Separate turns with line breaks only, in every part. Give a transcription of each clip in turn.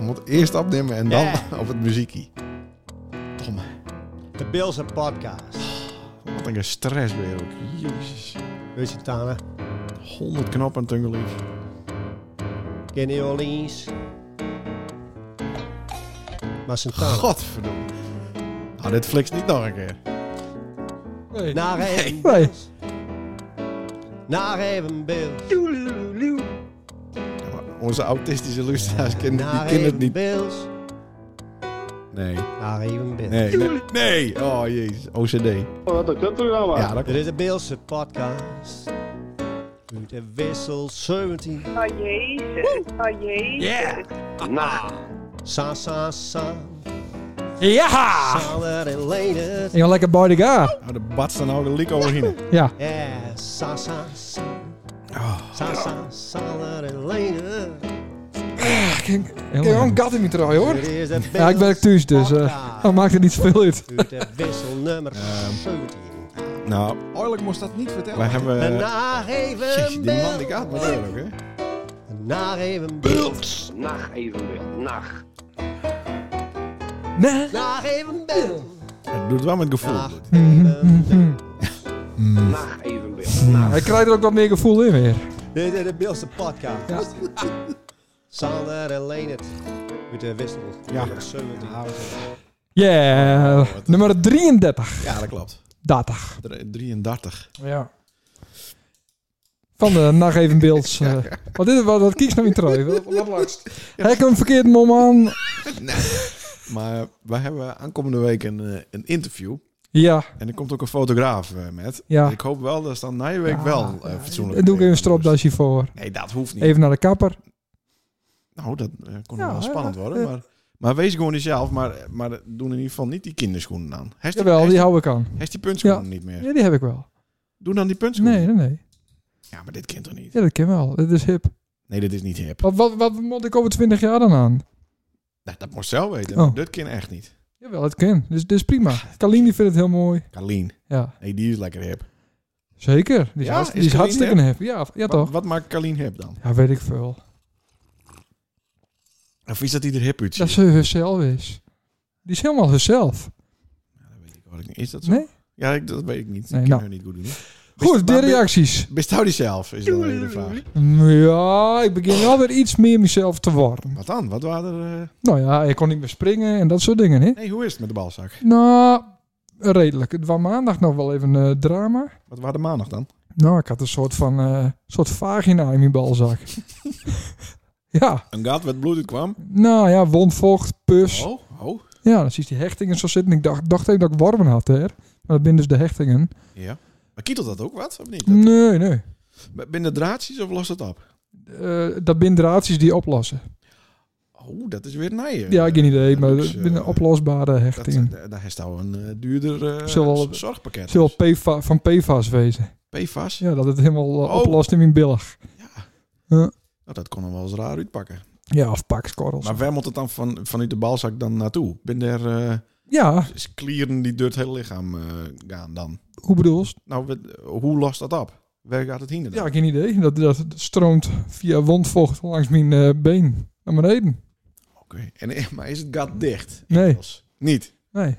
moet eerst opnemen en dan
Ja.
op het muziekie. Tom,
De Bills en Podcast.
wat een stress weer ook. Jezus.
Weet je, Tana?
100 knoppen tegelijk.
Kenny Orleans. Maar zijn taal.
Godverdomme. Nou, dit flikt niet nog een keer.
Nee.
Naar even
Nee.
Bills. Naar even Bills.
Ja, maar Onze autistische luisteraars kennen, die
Nou,
Naar
kennen het
even
niet.
Bills.
Nee.
Naar even Bills.
Nee. Nee. nee. Oh, jezus. OCD.
Wat een kutprogramma.
Ja, dat
Dit
klopt.
is de Beelse podcast. Uit de wissel 17.
Oh jezus. Oh jezus.
Sa, sa, sa.
Ja!
Sander en Leendert.
En lekker bij de ga.
Nou, de batst dan nou de liek overheen.
Ja.
Ja, sa, sa, sa.
Oh.
Sa, sa, Sander en Leendert.
Heel een gat in mijn trui hoor.
Dit is de
Ja, ik werk
Beelse
thuis, dus eh
podcast.
dat maakt er niet zoveel uit.
Uit de wissel nummer 17.
Nou,
Oorlijk moest dat niet vertellen.
we hebben... eh,
Naar
Jezus,
even
die man die
Bills.
gaat maar door ook, hè.
Naar even Bills.
Nacht even weer. Nacht.
Nee.
Naar even Bills.
Het doet wel met gevoel.
Naar even Bills.
Nacht even weer. Nacht.
Hij krijgt er ook wat meer gevoel in weer.
Dit is de Beelse podcast.
Ja.
Sander en Leendert. Met de wissel. nummer 17.
Yeah. Nummer 33.
Ja, dat klopt.
Datig.
Dr- 33.
Ja. Van de nacht even beelds. eh. Wat is het? Wat, wat kies nou in trui? Wat, wat langst? Hij komt verkeerd mom aan.
Maar wij hebben aankomende week een, eh, een interview.
Ja.
En er komt ook een fotograaf eh, met.
Ja.
Ik hoop wel dat ze dan na je week wel eh, fatsoenlijk...
Dan doe ik even een
dat
stropdasje voor.
Nee, dat hoeft niet.
Even naar de kapper.
Nou, dat eh, kon
Ja,
wel spannend
ja,
worden.
eh.
Maar, maar wees gewoon jezelf. Maar, maar doen in ieder geval niet die kinderschoenen aan. Heeft die,
Jawel,
heeft
die
die,
hou ik aan.
heeft die puntschoenen niet meer?
Ja, die heb ik wel.
Doe dan die puntschoenen.
Nee, nee, nee.
Ja, maar dit kind toch niet?
Ja, dat ken wel. Dat is hip.
Nee, dit is niet hip.
Wat, wat, wat moet ik over 20 jaar dan aan?
Dat, dat moest zelf weten.
Oh.
Dit kind echt niet.
Jawel, dat kan. Dus, dus prima. Kalien die vindt het heel mooi.
Carlien.
Ja,
Nee, die is lekker hip.
zeker. Die is,
Ja,
hartst-
is
die is
Carlien
hartstikke happy. Ja, v- ja
Wat-
toch?
Wat, maakt Carlien hip dan?
Ja, weet ik veel.
Of is dat hij er hip uitziet?
Dat ze herself is. Die is helemaal herself.
Ja, dat weet ik hoor ik niet. Is dat zo?
Nee?
Ja, ik, dat weet ik niet.
Nee,
ik kan
nou.
haar niet goed doen.
Goed, de
maar ben-
reacties.
Bestou die zelf, is dan even de vraag.
Mm, Ja, ik begin wel weer iets meer mezelf te worden.
Wat dan? Wat waren er... eh?
Nou ja, ik kon niet meer springen en dat soort dingen, hè?
Nee, hoe is het met de balzak?
Nou, redelijk. Het was maandag nog wel even eh drama.
Wat waren de maandag dan?
Nou, ik had een soort van eh, soort vagina in mijn balzak. ja,
Een gat wat bloed uit kwam.
nou ja, wondvocht, pus.
Oh, oh.
Ja, dan zie je die hechtingen zo zitten. Ik dacht, dacht even dat ik wormen had, hè. Maar dat zijn dus de hechtingen.
Ja. Maar kietelt dat ook wat, of niet? Dat-
Nee, nee.
B- Binnen draadjes of lost het op?
Eh, dat zijn draadjes die oplossen.
Oh, dat is weer nijen.
Ja, geen idee,
dat
maar
is,
dat zijn
eh,
oplosbare
Dat,
hechtingen.
eh, daar is nou een eh, duurder eh,
Zal wel-
z- zorgpakket.
Het zal wel PFA van PFAS wezen.
Dus PFAS?
Ja, dat het helemaal eh,
Oh.
oplost in mijn billig.
Nou, dat kon hem wel eens raar uitpakken.
Ja, of pakskorrels.
Maar waar moet het dan van, vanuit de balzak dan naartoe? Ben er eh,
Ja,
is klieren die door het hele lichaam eh, gaan dan?
hoe bedoel je?
Nou, wat- hoe lost dat op? Waar gaat het heen dan?
Ja, geen idee. Dat, dat stroomt via wondvocht langs mijn eh, been naar beneden.
Oké. En eh, Maar is het gat dicht?
Nee.
Inmiddels? Niet.
Nee.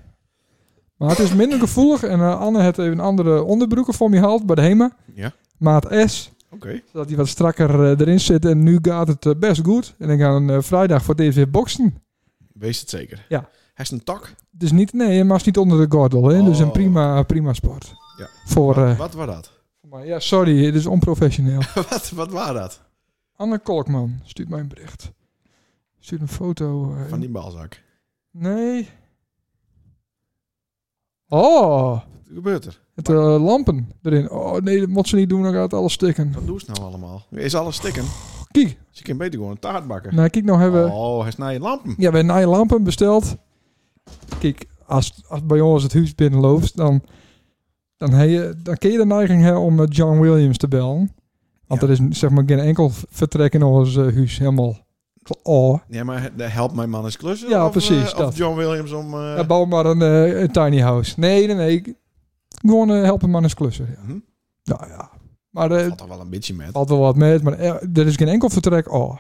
Maar het is minder gevoelig. En eh, Anne heeft even andere onderbroeken voor me gehaald bij de HEMA.
Ja.
Maat S.
Oké.
Zodat die wat strakker eh, erin zit. En nu gaat het eh, best goed. En ik ga een eh, vrijdag voor het eerst weer boksen.
Wees het zeker.
Ja.
Hij is een tak.
Dus niet, nee, je mag niet onder de gordel. Hè? Dus een
Oh.
prima, prima sport.
Ja.
Voor,
Wat,
eh,
wat was dat?
voor mij. Ja, sorry. Het is onprofessioneel.
wat, wat was dat?
Anne Kolkman stuurt mij een bericht. Stuurt een foto. eh,
Van die balzak.
Nee. Oh,
Wat gebeurt er?
het eh, lampen erin. Oh nee, dat moet ze niet doen, dan gaat alles stikken.
Wat doen ze nou allemaal? Is alles stikken?
Kijk,
Ze kan beter gewoon een taart bakken.
nou kijk nou hebben.
Oh, hij snijdt lampen.
Ja, we hebben lampen besteld. Kijk, als, als bij ons het huis binnenloopt, dan, dan, heb je, dan kun je de neiging hebben om eh, John Williams te bellen. Want
Ja.
er is zeg maar geen enkel vertrek in ons eh, huis helemaal. Oh,
Ja, maar de help mijn man is klussen?
Ja,
of,
precies,
eh, of
dat.
John Williams om... eh,
ja, bouw maar een, eh, een tiny house. Nee, nee, nee. ik- Gewoon eh, helpen man eens klussen. Ja.
hm?
Nou ja. Maar eh,
Valt er wel een beetje met.
valt wel wat mee, maar er er is geen enkel vertrek. Oh.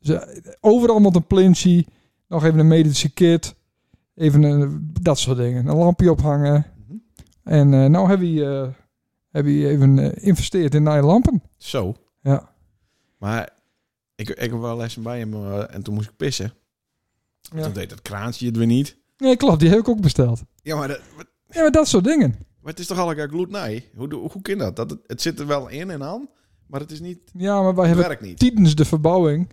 Ze- overal met een plintje, nog even een medische kit, even een, dat soort dingen. Een lampje ophangen.
Mhm.
En eh nou heb je, eh heb je even eh, investeerd in nieuwe lampen.
Zo.
Ja.
Maar ik, ik heb wel lessen bij hem eh, en toen moest ik pissen.
Ja.
Toen deed dat kraantje het weer niet.
Nee, klopt, die heb ik ook besteld.
Ja, maar, dat, maar
Ja, maar dat soort dingen.
maar het is toch allemaal gloednij? Hoe, hoe, hoe kan dat? dat het, het zit er wel in en aan, maar het is niet...
Ja, maar wij
Het
hebben
werkt niet.
tijdens de verbouwing.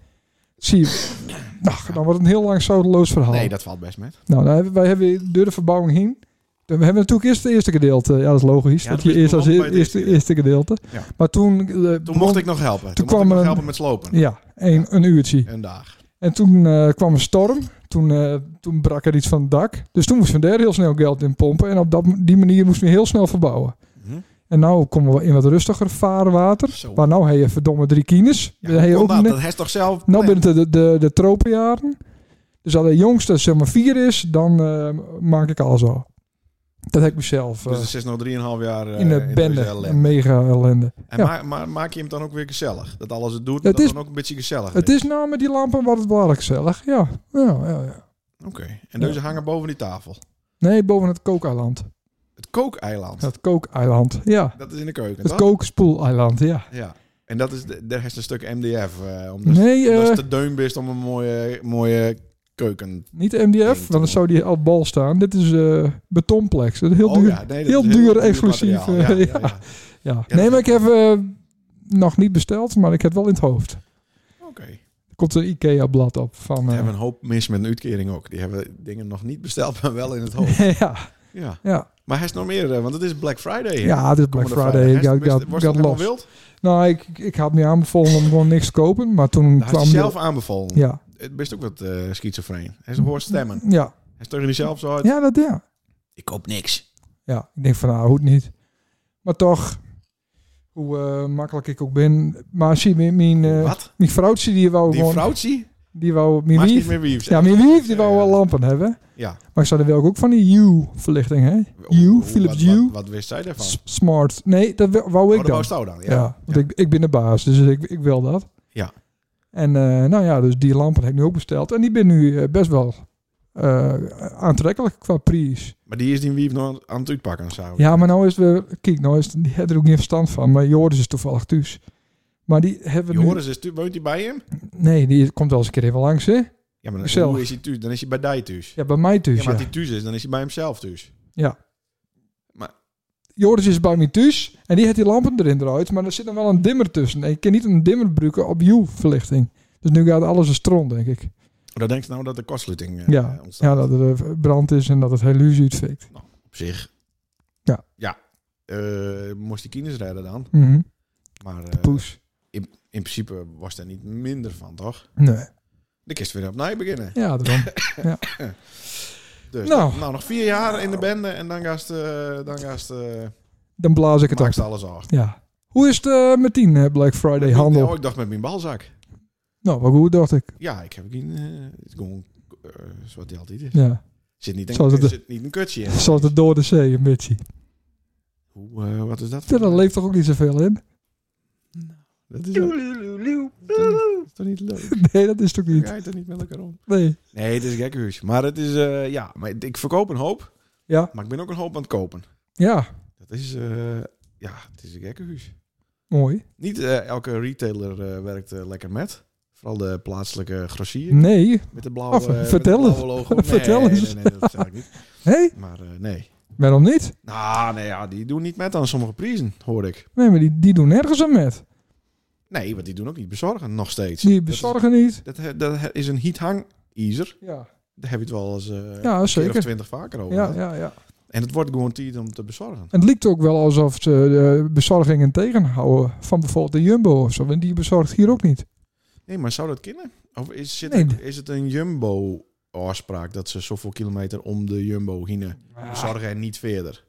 Zie je, nou, dan wordt het een heel lang zoudeloos verhaal.
Nee, dat valt best met.
Nou, dan hebben, wij hebben door de verbouwing heen. We hebben natuurlijk eerst het eerste gedeelte. Ja, dat is logisch.
Ja,
dat
dat
je
is
eerst als
begonnen bij
eerste,
het
eerste,
eerste, ja.
eerste gedeelte.
Ja.
Maar toen. eh,
Toen
begon-
mocht ik nog helpen. Toen, mocht
kwam
ik nog
een-
helpen met slopen.
Ja, een, een uurtje.
Een dag.
En toen eh, kwam een storm. Toen, eh, toen brak er iets van het dak. Dus toen moesten we daar heel snel geld in pompen. En op dat, die manier moesten we heel snel verbouwen.
Mhm.
En nou komen we in wat rustiger vaarwater.
Zo.
Maar nou heb je verdomme drie kines.
Ja,
Dan
hoe
heb je
kon
ook
dat?
net-
Dat heeft toch zelf...
nou binnen de, de, de tropenjaren. Dus als de jongste zeg maar vier is, dan eh, maak ik alles al. Dat heb ik mezelf eh,
Dus het is nog 3,5 jaar eh,
in de bende.
deze ellende.
Een mega ellende.
En
ja.
ma- maar maak je hem dan ook weer gezellig? Dat alles het doet,
Het
dat
is-
dan ook een beetje gezellig
Het is nou met die lampen wat het belangrijk gezellig. Ja. Ja, ja, ja.
Oké. En deze hangen boven die tafel.
Nee, boven het kookeiland.
Het kookeiland.
Het kookeiland, ja.
Dat is in de keuken,
Het
toch?
kookspoeleiland, ja.
Ja. En dat is, de, daar is een stuk MDF. eh om dus,
Nee,
dat
eh,
is te deun best om een mooie, mooie keuken.
niet MDF, want dan zou die al bal staan. Dit is eh betonplex. Dat is heel
Oh
duur.
ja, nee, dat
heel
is
duur, exclusief,
materiaal. ja,
eh,
ja,
ja.
ja.
Ja.
dat
Nee, maar ik
is-
heb eh, nog niet besteld, maar ik heb het wel in het hoofd.
Oké.
Er komt een IKEA-blad op van...
We
eh,
hebben een hoop mis met een uitkering ook. Die hebben dingen nog niet besteld, maar wel in het hoofd.
ja,
Oh. Ja.
ja.
Maar hij is nog meer, eh, want het is Black Friday. hè?
ja, het is Black
Komende
Friday.
vrijdag.
Ik had,
Hij is-
ik had,
was
ik had
dat helemaal
los.
wild?
Nou, ik, ik had me aanbevolen om gewoon niks te kopen, maar toen
Hij
kwam...
heeft hij
de-
Nou, zelf aanbevolen.
Ja,
Het best ook wat eh schizofreen. Hij hoort stemmen.
ja.
Hij is tegen zichzelf zo uit.
Ja, dat ja.
Ik koop niks.
Ja, ik denk van, nou, hoe het niet. Maar toch, hoe eh, makkelijk ik ook ben. Maar zie, mijn, mijn, eh,
Wat?
mijn vrouwtje, die wou
Die
gewoon...
vrouwtje?
Die wou, mijn
Maar is niet
wief,
meer wief.
ja, mijn wief, die wou
Ja, ja.
wel eh, lampen hebben.
Ja.
Maar ik zou er wel ook van die U-verlichting, hè? U,
Hoe-
Philips
wat- wat-
U,
Wat, wist zij daarvan?
S- smart. Nee, dat wou- wou
Oh,
ik
dat
dan.
wou Stouw dan. Ja.
Ja, want Ik, ik ben de baas, dus ik, ik wil dat.
Ja.
En eh, nou ja, dus die lampen heb ik nu ook besteld. En die ben nu eh, best wel eh, aantrekkelijk qua prijs.
Maar die is die wief nog aan het uitpakken. Zou.
Ja, maar nou is we Kijk, nou is die heeft er ook geen verstand van. Maar Joris is toevallig thuis. Maar die hebben we nu...
Joris, is tu- woont hij bij hem?
Nee, die komt wel eens een keer even langs, hè?
Ja, maar dan,
Zelf.
hoe is hij thuis? Dan is hij bij die thuis. Ja,
Ja, bij mij thuis,
maar
ja.
als hij thuis is, dan is hij bij hemzelf thuis.
Joris is bij mij thuis. En die heeft die lampen erin eruit. Maar er zit dan wel een dimmer tussen. En je kan niet een dimmer gebruiken op uw verlichting. Dus nu gaat alles een stron, denk ik.
Dan denkt ze nou dat de kortsluiting eh,
Ja.
ontstaat.
Ja, dat er eh, brand is en dat het hele huis uitfikt.
Op zich.
Ja.
Ja. Eh, moest die kines redden dan.
Mhm.
Maar eh,
Poes.
in principe was er niet minder van, toch?
Nee.
De kist weer opnieuw beginnen.
Ja, daarom.
Dus,
Nou.
nou. nog vier jaar in de bende en dan gaat ze, eh, dan gaat ze,
Dan blaas ik het
maakt ze
af.
alles af.
Ja. Hoe is het eh, met die eh, Black Friday handel?
Oh, ik dacht met mijn balzak.
Nou, wat goed dacht ik.
Ja, ik heb geen, eh, het is gewoon eh, zoals die altijd is.
Ja.
Zit niet
Zoals
een,
het-
er zit niet een kutje in.
Zoals de door de zee, een beetje.
Hoe, eh, wat is dat?
Ja, Daar leeft toch ook niet zoveel in?
Dat is, toch- dat is toch niet leuk?
Nee, dat is toch
Je
niet.
rijdt er niet met elkaar om.
Nee.
Nee, het is een gekkenhuis. Maar het is, eh, ja, maar ik verkoop een hoop.
Ja.
Maar ik ben ook een hoop aan het kopen.
Ja,
Dat is, eh, ja, het is een gekkenhuis.
mooi.
Niet eh, elke retailer eh, werkt eh, lekker met. Vooral de plaatselijke grossier.
Nee.
Met de blauwe,
Of,
met het
vertel
blauwe
eens.
logo. Nee,
Vertel
nee,
eens.
Nee, nee, dat zeg ik niet.
Hé, hey,
Maar eh, nee.
waarom niet?
Nou, nee, ja, die doen niet met aan sommige prijzen, hoor ik.
Nee, maar die, die doen nergens aan met.
Nee, want die doen ook niet bezorgen, nog steeds.
Die
Dat
bezorgen niet.
is, dat, he- dat he- is een heat hang easer.
Ja,
Daar heb je het wel eens eh
Ja,
een keer
zeker.
of twintig vaker over.
ja,
gehad.
ja. ja.
En het wordt gewoon tijd om te bezorgen.
En het lijkt ook wel alsof ze de bezorgingen tegenhouden van bijvoorbeeld de Jumbo of zo. En die bezorgt hier ook niet.
Nee, maar zou dat kunnen? Of is, zit
Nee.
er- is het een Jumbo-afspraak dat ze zoveel kilometer om de Jumbo heen bezorgen en niet verder?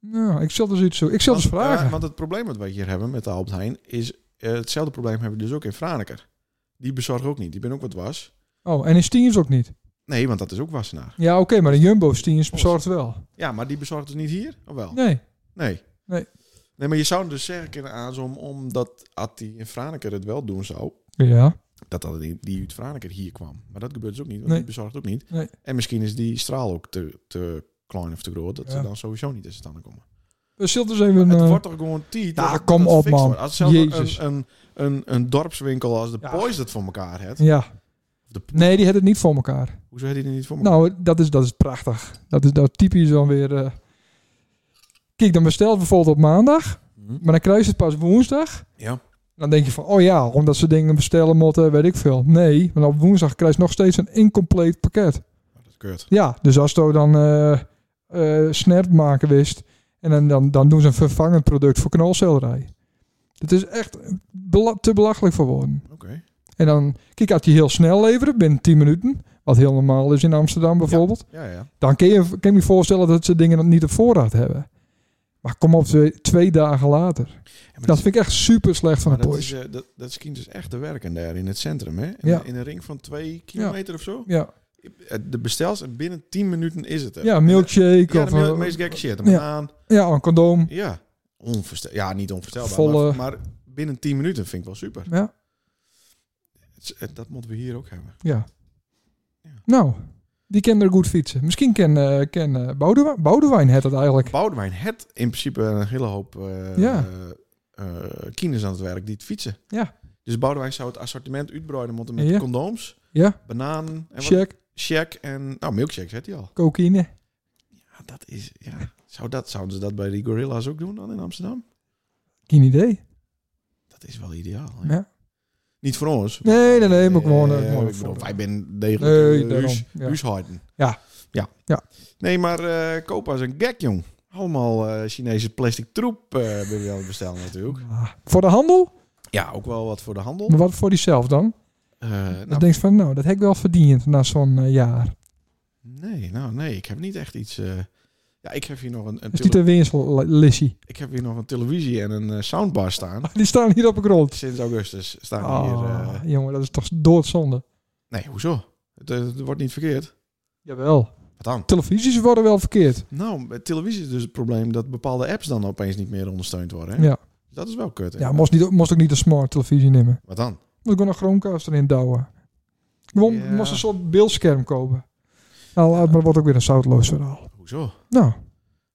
Nou, ik zal dus iets zo. Ik zal dus
Want,
vragen.
eh, want het probleem wat wij hier hebben met de Albert Heijn is eh, hetzelfde probleem hebben we dus ook in Franeker. Die bezorgen ook niet. Die ben ook wat was.
Oh, en in Steams ook niet.
Nee, want dat is ook wassenaar.
Ja, oké, maar de Jumbo Steams bezorgt wel.
Ja, maar die bezorgt dus niet hier, of wel?
Nee.
Nee.
Nee.
Nee, maar je zou hem dus zeggen kunnen aanzoomen omdat Atti in Franeker het wel doen zou,
Ja.
dat dat die, die uit Franeker hier kwam. Maar dat gebeurt dus ook niet, want
Nee.
die bezorgt ook niet.
Nee.
En misschien is die straal ook te, te klein of te groot, dat ze
Ja.
dan sowieso niet in standen komen.
We zullen dus even...
het
eh,
wordt toch gewoon tijd.
nou,
dat het-
kom
dat het
op,
fixt
man.
wordt. Als zelfs een-
Jezus.
Een, een, een, dorpswinkel als de
Ja.
Poys dat voor elkaar heeft.
ja.
De,
Nee, die had het niet voor elkaar.
Hoezo heeft hij dit niet voor elkaar?
Nou, dat is, dat is prachtig. Dat is dat typisch dan weer... eh, Kijk, dan bestel je bijvoorbeeld op maandag,
Hm?
maar dan krijg je het pas woensdag.
Ja.
Dan denk je van, oh ja, omdat ze dingen bestellen moeten, weet ik veel. Nee, want op woensdag krijg je nog steeds een incompleet pakket.
Maar Dat is kut.
Ja, dus als je dan eh eh, snert maken wist, en dan, dan, dan doen ze een vervangend product voor knolselderij. Het is echt bela- te belachelijk voor woorden.
Oké.
En dan, kijk, als die heel snel leveren, binnen 10 minuten, wat heel normaal is in Amsterdam bijvoorbeeld,
Ja, ja.
dan kun je, kan je je voorstellen dat ze dingen dan niet op voorraad hebben. Maar kom op, twee, twee dagen later.
Ja, maar
Dat vind ik echt super slecht van de
Maar dat,
boys.
is, eh, dat, dat schijnt dus echt te werken daar in het centrum. Hè? In,
Ja.
in een ring van twee kilometer of zo.
Ja,
Eh, De bestels en binnen tien minuten is het er.
ja
En, eh,
milkshake
Ja,
of
de mil-
eh,
meest gek shit. Een
Ja.
banaan.
ja, een condoom.
Ja. Onvoorstel ja, niet onvoorstelbaar.
Volle-
Maar, maar binnen tien minuten vind ik wel super.
Ja,
Het is- het- Dat moeten we hier ook hebben.
ja.
Ja.
Nou, die kan er goed fietsen. Misschien ken, eh ken eh, Boudewa- Boudewijn het dat eigenlijk.
Boudewijn het in principe een hele hoop eh
Ja.
eh, kinders aan het werk die het fietsen.
Ja.
Dus Boudewijn zou het assortiment uitbreiden moeten met
Ja.
condooms,
Ja,
bananen en wat,
check,
check en nou milkshake zet hij al.
cocaïne.
Ja, dat is ja. Zou dat zouden ze dat bij die gorilla's ook doen dan in Amsterdam?
Geen idee.
Dat is wel ideaal. hè?
Ja.
Niet voor ons.
Nee, nee, nee, maar
Eh,
gewoon, eh, gewoon
ik bedoel,
voor-
wij zijn degelijk
Nee,
eh,
daarom,
huis-
ja.
huishouden.
Ja.
ja.
Ja.
Nee, maar eh Kopa is een gek, jong. Allemaal eh, Chinese plastic troep eh ben je aan het bestellen natuurlijk.
Ah, voor de handel?
Ja, ook wel wat voor de handel.
Maar wat voor diezelf dan?
Eh,
Dan
nou,
denk je van, nou, dat heb ik wel verdiend na zo'n eh, jaar.
nee, nou nee, ik heb niet echt iets... eh, ja, ik heb hier nog een, een
Is die
tele-
de winstlissie?
ik heb hier nog een televisie en een eh, soundbar staan.
Die staan hier op de grond.
Sinds augustus staan
Ah,
hier... eh,
jongen, dat is toch doodzonde.
nee, hoezo? Het, eh, het wordt niet verkeerd.
Jawel.
Wat dan?
Televisies worden wel verkeerd.
Nou, met televisie is dus het probleem dat bepaalde apps dan opeens niet meer ondersteund worden. Hè?
Ja,
Dat is wel kut. hè?
ja moest, niet, moest ook niet de smart televisie nemen.
Wat dan?
Moet ik gewoon een Chromecast erin douwen. Gewoon
Ja.
moest een soort beeldscherm kopen. Nou, maar dat wordt ook weer een zoutloos verhaal.
Hoezo?
Nou,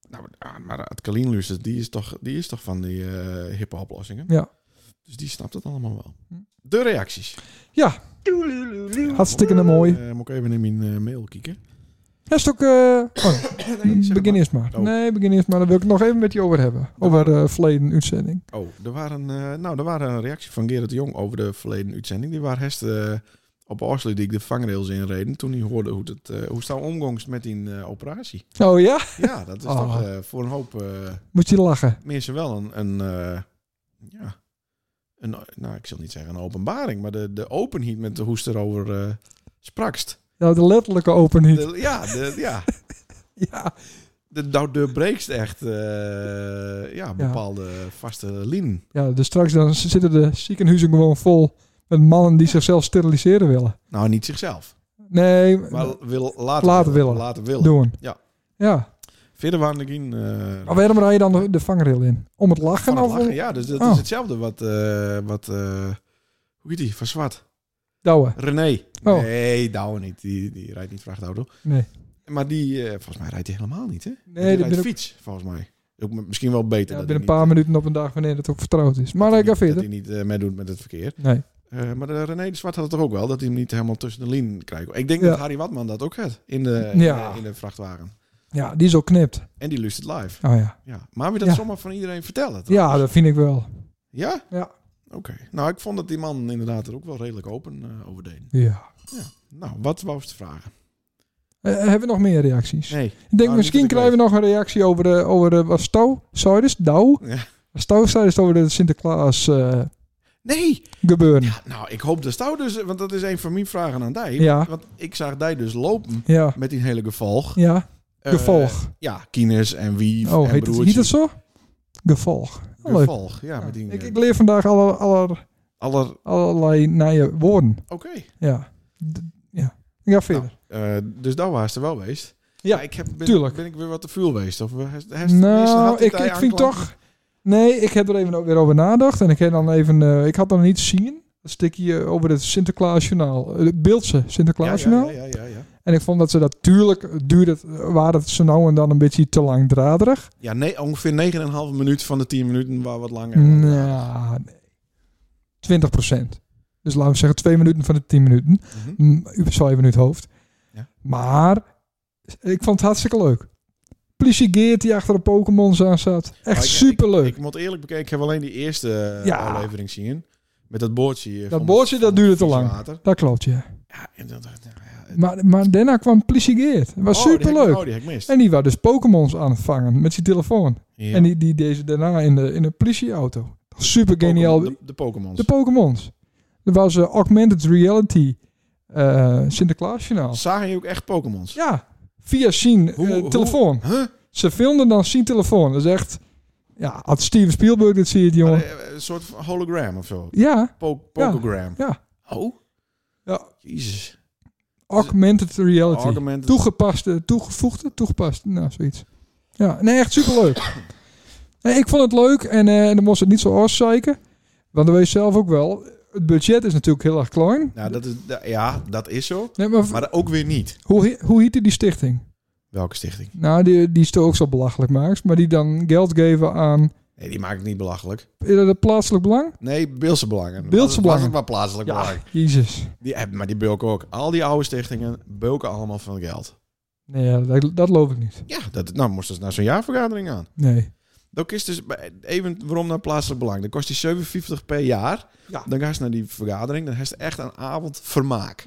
Nou, maar- maar het Kalien luistert, die is toch, die is toch van die eh, hippe oplossingen?
Ja.
Dus die snapt het allemaal wel.
Hm.
De reacties.
hartstikke mooi.
Eh, moet ik even in mijn eh, mail kijken?
Dat is ook... eh, oh,
Nee, zeg
begin
maar.
eerst maar.
Oh.
Nee, begin eerst maar. Daar wil ik het nog even met je over hebben. Over eh verleden uitzending.
Oh, er waren, eh, nou, er waren een reactie van Gerrit de Jong over de verleden uitzending. Die waren hest eh, op Oslo die ik de vangrails inreden. Toen hij hoorde hoe het eh, hoe staan omgangst met die eh, operatie.
Oh ja?
Ja, dat is
Oh.
toch eh, voor een hoop... eh,
Moet je lachen.
mensen wel een, een eh, ja, een, nou, ik zal niet zeggen een openbaring, maar de, de openheid met hoe ze erover eh sprakst.
Ja, de letterlijke openheid.
De, ja, de, ja,
Ja.
de, nou, de breekst echt eh, ja, bepaalde vaste lijn.
ja, dus straks dan z- zitten de ziekenhuizen gewoon vol met mannen die zichzelf steriliseren willen.
Nou, niet zichzelf,
Nee,
maar wil, laten,
Laten willen.
Laten willen.
doen.
Ja.
Ja.
Verder waren er geen... eh,
Maar waarom rij je dan de, de vangrail in? Om het lachen?
van het
of om-
lachen. Ja, dus dat
Oh.
is hetzelfde wat... eh, wat eh, hoe heet die? Van Zwart.
Douwen.
René.
Oh.
Nee, Douwe niet. Die, die rijdt niet vrachtauto.
Nee.
Maar die, eh, volgens mij rijdt hij helemaal niet, hè? Nee,
Nee, dat
die
ben
rijdt
ik-
fiets, volgens mij. Ook m- misschien wel beter.
Ja,
dat
binnen een
hij
paar
niet-
minuten op een dag wanneer het ook vertrouwd is. Maar
dat
ik ga
hij niet- Dat hij
verder.
niet eh, meedoet met het verkeer.
Nee.
Eh, maar de René de Zwart had het toch ook wel, dat hij hem niet helemaal tussen de lijn krijgt. Ik denk
Ja.
dat Harry Watman dat ook had in de,
Ja.
in de, in de vrachtwagen.
Ja, die is ook knipt.
En die lust het live.
Oh ja.
Ja. Maar we dat
Ja.
zomaar van iedereen vertellen? toch?
Ja, dat vind ik wel.
Ja?
Ja.
Oké. Nou, ik vond dat die man inderdaad er ook wel redelijk open eh, over deed.
Ja.
Nou, wat wou ze te vragen?
Eh, hebben we nog meer reacties?
Nee.
Ik denk,
Nou,
misschien
niet dat ik
krijgen we nog een reactie over, de, over de, wat Stouw zei dus, Douw.
Ja.
Stouw zei dus over de Sinterklaas eh,
Nee!
gebeuren.
Ja, nou, ik hoop dat Stouw dus, want dat is een van mijn vragen aan Dij.
Ja.
Want ik zag Dij dus lopen
Ja.
met die hele gevolg.
Ja.
Eh,
Gevolg.
ja, Kines en wie
oh,
en
heet het,
broertje.
heet het zo? Gevolg. Leuk.
Gevolg, ja,
Ja.
met die...
Ik,
eh,
ik leer vandaag aller, aller,
aller,
allerlei nieuwe woorden.
oké.
Ja. D- ja. Ik ga verder.
Eh, dus daar was er wel geweest.
Ja,
ik heb, ben,
tuurlijk.
Ben ik weer wat te vuur geweest? Of eh, heeft- heeft- meestal had
Nou,
die
ik,
Dij
ik vind
aanklank-
toch... Nee, ik heb er even ook weer over nagedacht. En ik, heb dan even, eh, ik had dan niet zien. een stukje over het Sinterklaasjournaal. eh, Het Beeldse Sinterklaasjournaal.
ja, ja, ja, ja.
En ik vond dat ze dat tuurlijk duurde, het- waren het ze nou en dan een beetje te langdraderig.
Ja, nee, ongeveer 9,5 minuut van de 10 minuten waar wat langer.
Nou, nee. 20 Dus laten we zeggen 2 minuten van de 10 minuten.
Mhm.
Mm, U zal even in het hoofd.
Ja.
Maar ik vond het hartstikke leuk. Politie Geert die achter de Pokémon aan zat. Echt
Mhm. Maar ik-
superleuk.
Ik, ik moet eerlijk bekeken, ik heb alleen die eerste eh,
Ja.
aflevering zien. Met dat boordje. eh,
Dat
van-
boordje,
van
dat duurde te
vies
lang.
water.
dat klopt, ja.
Ja, en dat, nou ja, het-
Maar, maar daarna kwam Politie Geert. Het was
Oh, die heb ik-
superleuk.
Oh, die heb ik mist.
En die was dus Pokémons aan het vangen met zijn telefoon.
Ja.
En die, die deze daarna in de, in de politieauto. Super
Pokémon-
geniaal.
De, de Pokémons.
De Pokémons. Er was eh, Augmented Reality eh Sinterklaasjournaal.
Zagen je ook echt Pokémons?
Ja, via zijn eh,
Hoe- hoe-
telefoon.
Huh?
Ze filmden dan zijn telefoon. Dat is echt... Ja, als Steven Spielberg dit ziet, jongen.
Maar, eh, Een soort van hologram of zo.
Ja,
Po Pokogram.
ja.
Oh?
Ja.
Jezus.
Augmented Reality.
Argument.
Toegepaste, toegevoegde, toegepast. Nou, zoiets. Ja, nee, echt superleuk. nee, ik vond het leuk en eh, dan moest het niet zo afzeiken. Want dat weet je zelf ook wel. Het budget is natuurlijk heel erg klein.
Nou, dat is, da- ja, dat is zo.
Nee, maar,
Maar ook weer niet.
hoe, he- hoe heette die stichting?
Welke stichting?
Nou, die, die is toch ook zo belachelijk maakt. Maar die dan geld geven aan
Nee, die maakt het niet belachelijk.
is dat het plaatselijk belang?
Nee, Beelse Belangen.
Beeldse
Was het- Was
Belangen.
het maar plaatselijk belang.
Jezus.
Die, eh, maar die bulken ook. Al die oude stichtingen bulken allemaal van geld.
Nee, ja, dat, dat loof ik niet.
Ja, dat, nou moest dus naar zo'n jaarvergadering aan.
Nee.
Dat is dus bij- even waarom naar plaatselijk belang. Dan kost die 57 per jaar.
Ja.
Dan ga je naar die vergadering. Dan heeft je echt een avond vermaak.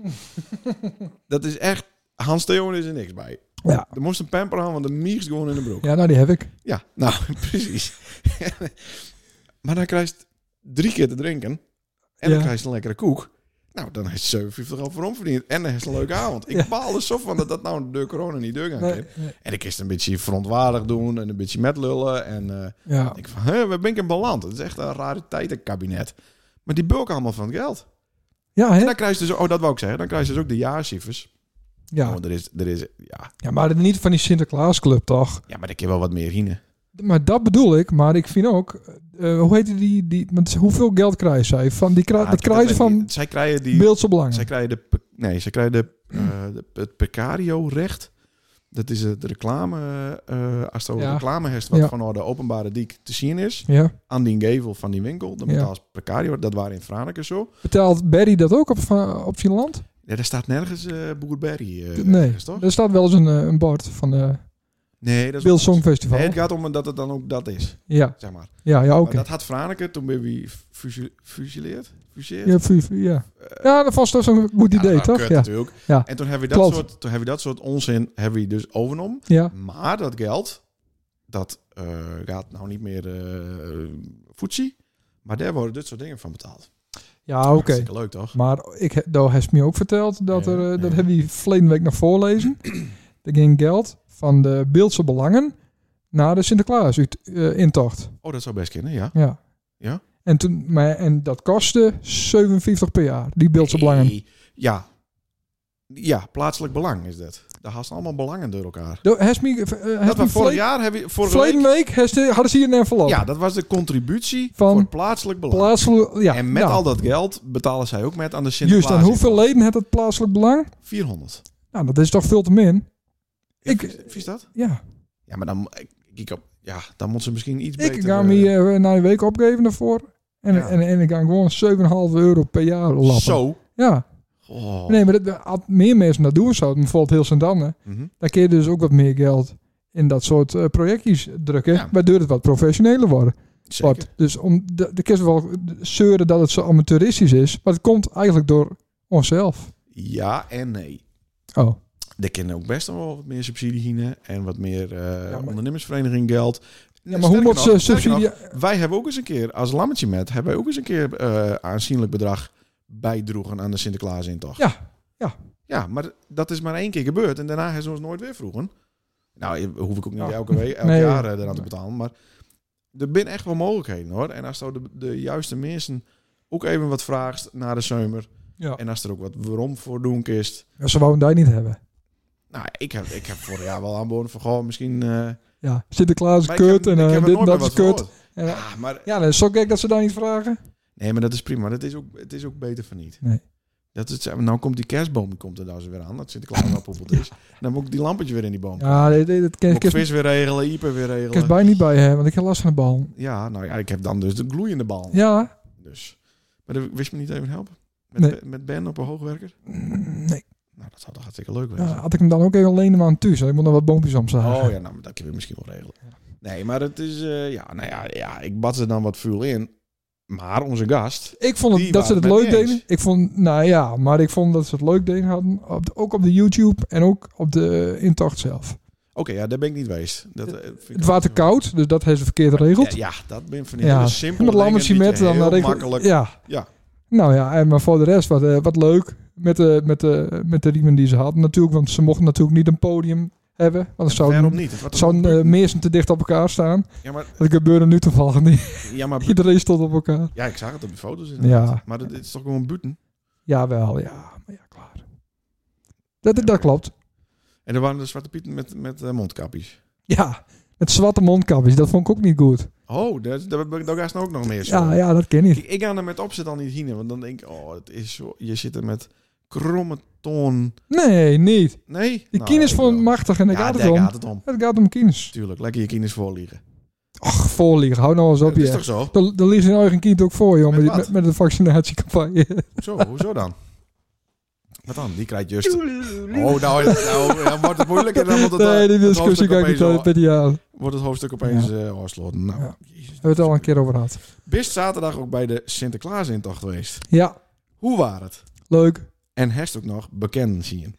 dat is echt. Hans Theon is er niks bij.
Ja.
Er moest een pamper aan, want de mier is gewoon in de broek. Ja,
Ja, nou die heb ik.
nou precies. maar dan krijg je drie keer te drinken. En
Ja.
dan krijg je een lekkere koek. Nou, dan heeft je 57 al voor verdiend. En dan heeft je een leuke avond. Ik
Ja.
baal er zo van dat dat nou door corona niet deur gaat.
Nee, nee.
En ik is het een beetje verontwaardig doen en een beetje metlullen. En eh,
Ja.
ik van, hè, waar ben ik in beland? Het is echt een rariteitenkabinet. Maar die bulken allemaal van het geld.
Ja,
En
hè?
dan krijg je dus, oh dat wou ik zeggen, dan krijg je dus ook de jaarcijfers. Ja.
ja.
er is, er is, ja.
ja, maar niet van die Sinterklaasclub toch?
ja, maar ik heb wel wat meer hine.
Maar dat bedoel ik. Maar ik vind ook... eh, hoe heette die... die want hoeveel geld krijgen zij? Van die kra-
Ja,
dat
het-
krijgen ze
het-
van
het- Zij krijgen die...
Beeldse Belangen.
Zij krijgen de... pe- Nee, zij krijgen de, eh, de- het precario-recht. Dat is het reclame... eh, eh, als de
Ja.
reclame heeft wat
Ja.
van de openbare diek te zien is...
Ja.
aan die gevel van die winkel. Dan
Ja.
betaalt ze precario. Dat waren in Franeker zo.
Betaalt Barry dat ook op, va- op zijn land?
Ja, daar staat nergens eh Boer Berry. eh,
nee.
ergens, toch?
Er staat wel eens een, eh, een bord van eh
Nee, dat is
Beeld Songfestival.
Nee, het gaat om dat het dan ook dat is,
Ja,
zeg maar. Maar
ja, ja oké.
dat had Franeker toen ben we fusi- fusileerd. Fuseerd?
Ja, vu- vu- ja. ja, dat was toch zo'n goed
Eh, Ja, dat
idee,
was
toch?
kut
Ja.
natuurlijk.
Ja.
En toen hebben we dat,
Klopt.
soort, toen hebben we dat soort onzin hebben we dus overnomen.
ja.
Maar dat geld, dat eh, gaat nou niet meer eh voetsie. Maar daar worden dit soort dingen van betaald.
Ja, oké.
Hartstikke leuk, toch?
Maar ik, he- daar heeft me ook verteld dat
Ja,
er, eh,
ja.
dat heb je verleden week nog voorlezen. er ging geld van de Beeldse Belangen naar de Sinterklaas uit- eh, intocht.
Oh, dat zou best kunnen, ja.
Ja.
Ja?
En, toen, maar, en dat kostte 57 per jaar, die Beeldse Belangen.
Hey, Ja. Ja, plaatselijk belang is dat. Daar haast allemaal belangen door elkaar.
Daar heeft me, eh, heeft
Dat
me
was vorig
verleden,
jaar, heb je, vorige
verleden
week,
week heeft ze- hadden ze hier een envelop.
Ja, dat was de contributie
Van
voor plaatselijk belang.
Plaatselijk, ja,
en met
nou,
al dat geld betalen zij ook met aan de
Juist,
Sinterklaas.
dan hoeveel leden heeft het plaatselijk belang?
400.
Nou, dat is toch veel te min? Ik-
Ik, vies dat?
Ja,
Ja, maar dan, ik, ik, op- ja, dan moet ze misschien iets
ik
beter...
ga
eh,
me eh, na een week opgeven daarvoor. En,
Ja.
en, en ik ga gewoon 7,5 euro per jaar lappen.
Zo.
Ja.
Oh.
Nee, maar dat, als meer mensen dat doen zouden, bijvoorbeeld heel sint dan
Mhm.
kun je dus ook wat meer geld in dat soort eh, projectjes drukken.
Ja.
Waardoor het wat professioneler wordt.
Zeker.
wordt. Dus om de, de kerst wel zeuren dat het zo amateuristisch is. Maar het komt eigenlijk door onszelf.
Ja en nee.
Oh,
Er kunnen ook best nog wel wat meer subsidie hienen en wat meer eh
maar-
ondernemersvereniging geld.
ja, maar hoe moet ze subsidie...
Wij hebben ook eens een keer, als lammetje met, hebben wij ook eens een keer eh, aanzienlijk bedrag bijdroegen aan de Sinterklaasintocht.
Ja, ja.
Ja, maar dat is maar één keer gebeurd en daarna hebben ze ons nooit weer vroegen. Nou, je- hoef ik ook niet
Ja.
elke week, elk
Nee.
jaar eh, eraan te betalen, maar er zijn echt wel mogelijkheden hoor. En als nou de, de juiste mensen ook even wat vraagt naar de zomer
Ja.
en als er ook wat waarom voor doen kist.
Ze wouden daar niet hebben.
Nou, ik heb, ik heb vorig jaar wel aanboden van, goh, misschien... eh, maar
Ja, Sinterklaas is
ik heb-
kut en
ik
eh,
heb er
dit en
nooit
dat
meer
is
wat
kut.
gehoord.
Ja,
Ja, maar
Ja, dan is het zo gek dat ze daar niet vragen.
Nee, maar dat is prima. Dat is ook, het is ook beter van niet.
Nee.
Dat is, nou komt die kerstboom die komt er nou eens weer aan. Dat Sinterklaas wel poepeld is. Dan moet ik die lampetje weer in die boom.
Ja, dit, dit, dit kan
Moet ik
ik
vis weer regelen, Ieper weer regelen.
kerst bij niet bij hebben, want ik heb last van de bal.
Ja, nou ja, ik heb dan dus de gloeiende bal.
Ja,
Dus. Maar dat wist me niet even helpen. Met,
Nee.
met Ben op een hoogwerker.
nee.
Nou, dat had hartstikke leuk
Ja,
geweest.
had ik hem dan ook even alleen maar aan thuis. hè. Ik moet nog wat boompjes omzagen.
Oh ja, nou, maar dat kunnen we misschien wel regelen. Nee, maar het is... eh, ja, nou ja, ja, ik bad er dan wat vuur in. Maar onze gast...
Ik vond het,
Die
dat ze het
waren
leuk
het niet
deden. Ik vond, nou ja, maar ik vond dat ze het leuk deden hadden. Op de- ook op de YouTube en ook op de eh, intocht zelf.
Oké, ja, daar ben ik niet geweest. Dat, eh, vind ik
Het
ook-
water koud, dus dat heeft ze verkeerd geregeld.
Ja, ja, dat ben van die
Ja,
hele
en
simpele
met
dingen
lammertje
die
met
je
dan eh,
heel
regel-
makkelijk...
Ja.
Ja.
Nou ja, en maar voor de rest wat, eh, wat leuk met de, met, de, met de riemen die ze hadden natuurlijk. Want ze mochten natuurlijk niet een podium hebben. Want het
En
zou,
waarom niet? Het wordt
zou
een-
meersen te dicht op elkaar staan.
ja, maar,
Dat gebeurde nu toevallig niet.
ja, maar...
Iedereen stond op elkaar.
Ja, ik zag het op de foto's inderdaad.
Ja,
Maar dat, dit is toch gewoon buten?
jawel, ja. Maar ja, klaar. Dat, dat klopt.
En er waren de Zwarte Pieten met, met eh, mondkapjes.
Ja, het zwarte mondkapjes, dat vond ik ook niet goed.
Oh, daar, daar, daar gaan ze nou ook nog meer zo.
Ja, ja, dat ken ik.
Ik, ik ga er met opzet al niet heen, want dan denk ik, oh, het is zo, je zit er met kromme toon.
Nee, niet.
Nee?
Die
Nou,
kines
ik
vond
wel.
ik machtig en daar
ja,
gaat het
daar
om.
gaat het om.
Het gaat om kines.
Tuurlijk, lekker je kines voorliegen.
Och, voorliegen, hou nou eens op
Dat is
je.
toch zo?
Dan dan liegen ze hun eigen kind ook voor, joh,
Met
met, die-
wat?
met, met de vaccinatiecampagne.
Zo, hoezo dan? Wat dan? Die krijgt just... Oh, nou, nou, dan wordt het moeilijk en dan wordt het, eh,
nee, die
het
discussie
hoofdstuk
ga ik niet
opeens,
uit met die aan. We
wordt het hoofdstuk opeens eh afgesloten. Nou,
Ja.
jezus.
hebben het al een keer over gehad.
Bist zaterdag ook bij de Sinterklaasintocht geweest.
Ja,
Hoe was het?
leuk.
En herst ook nog bekend zien.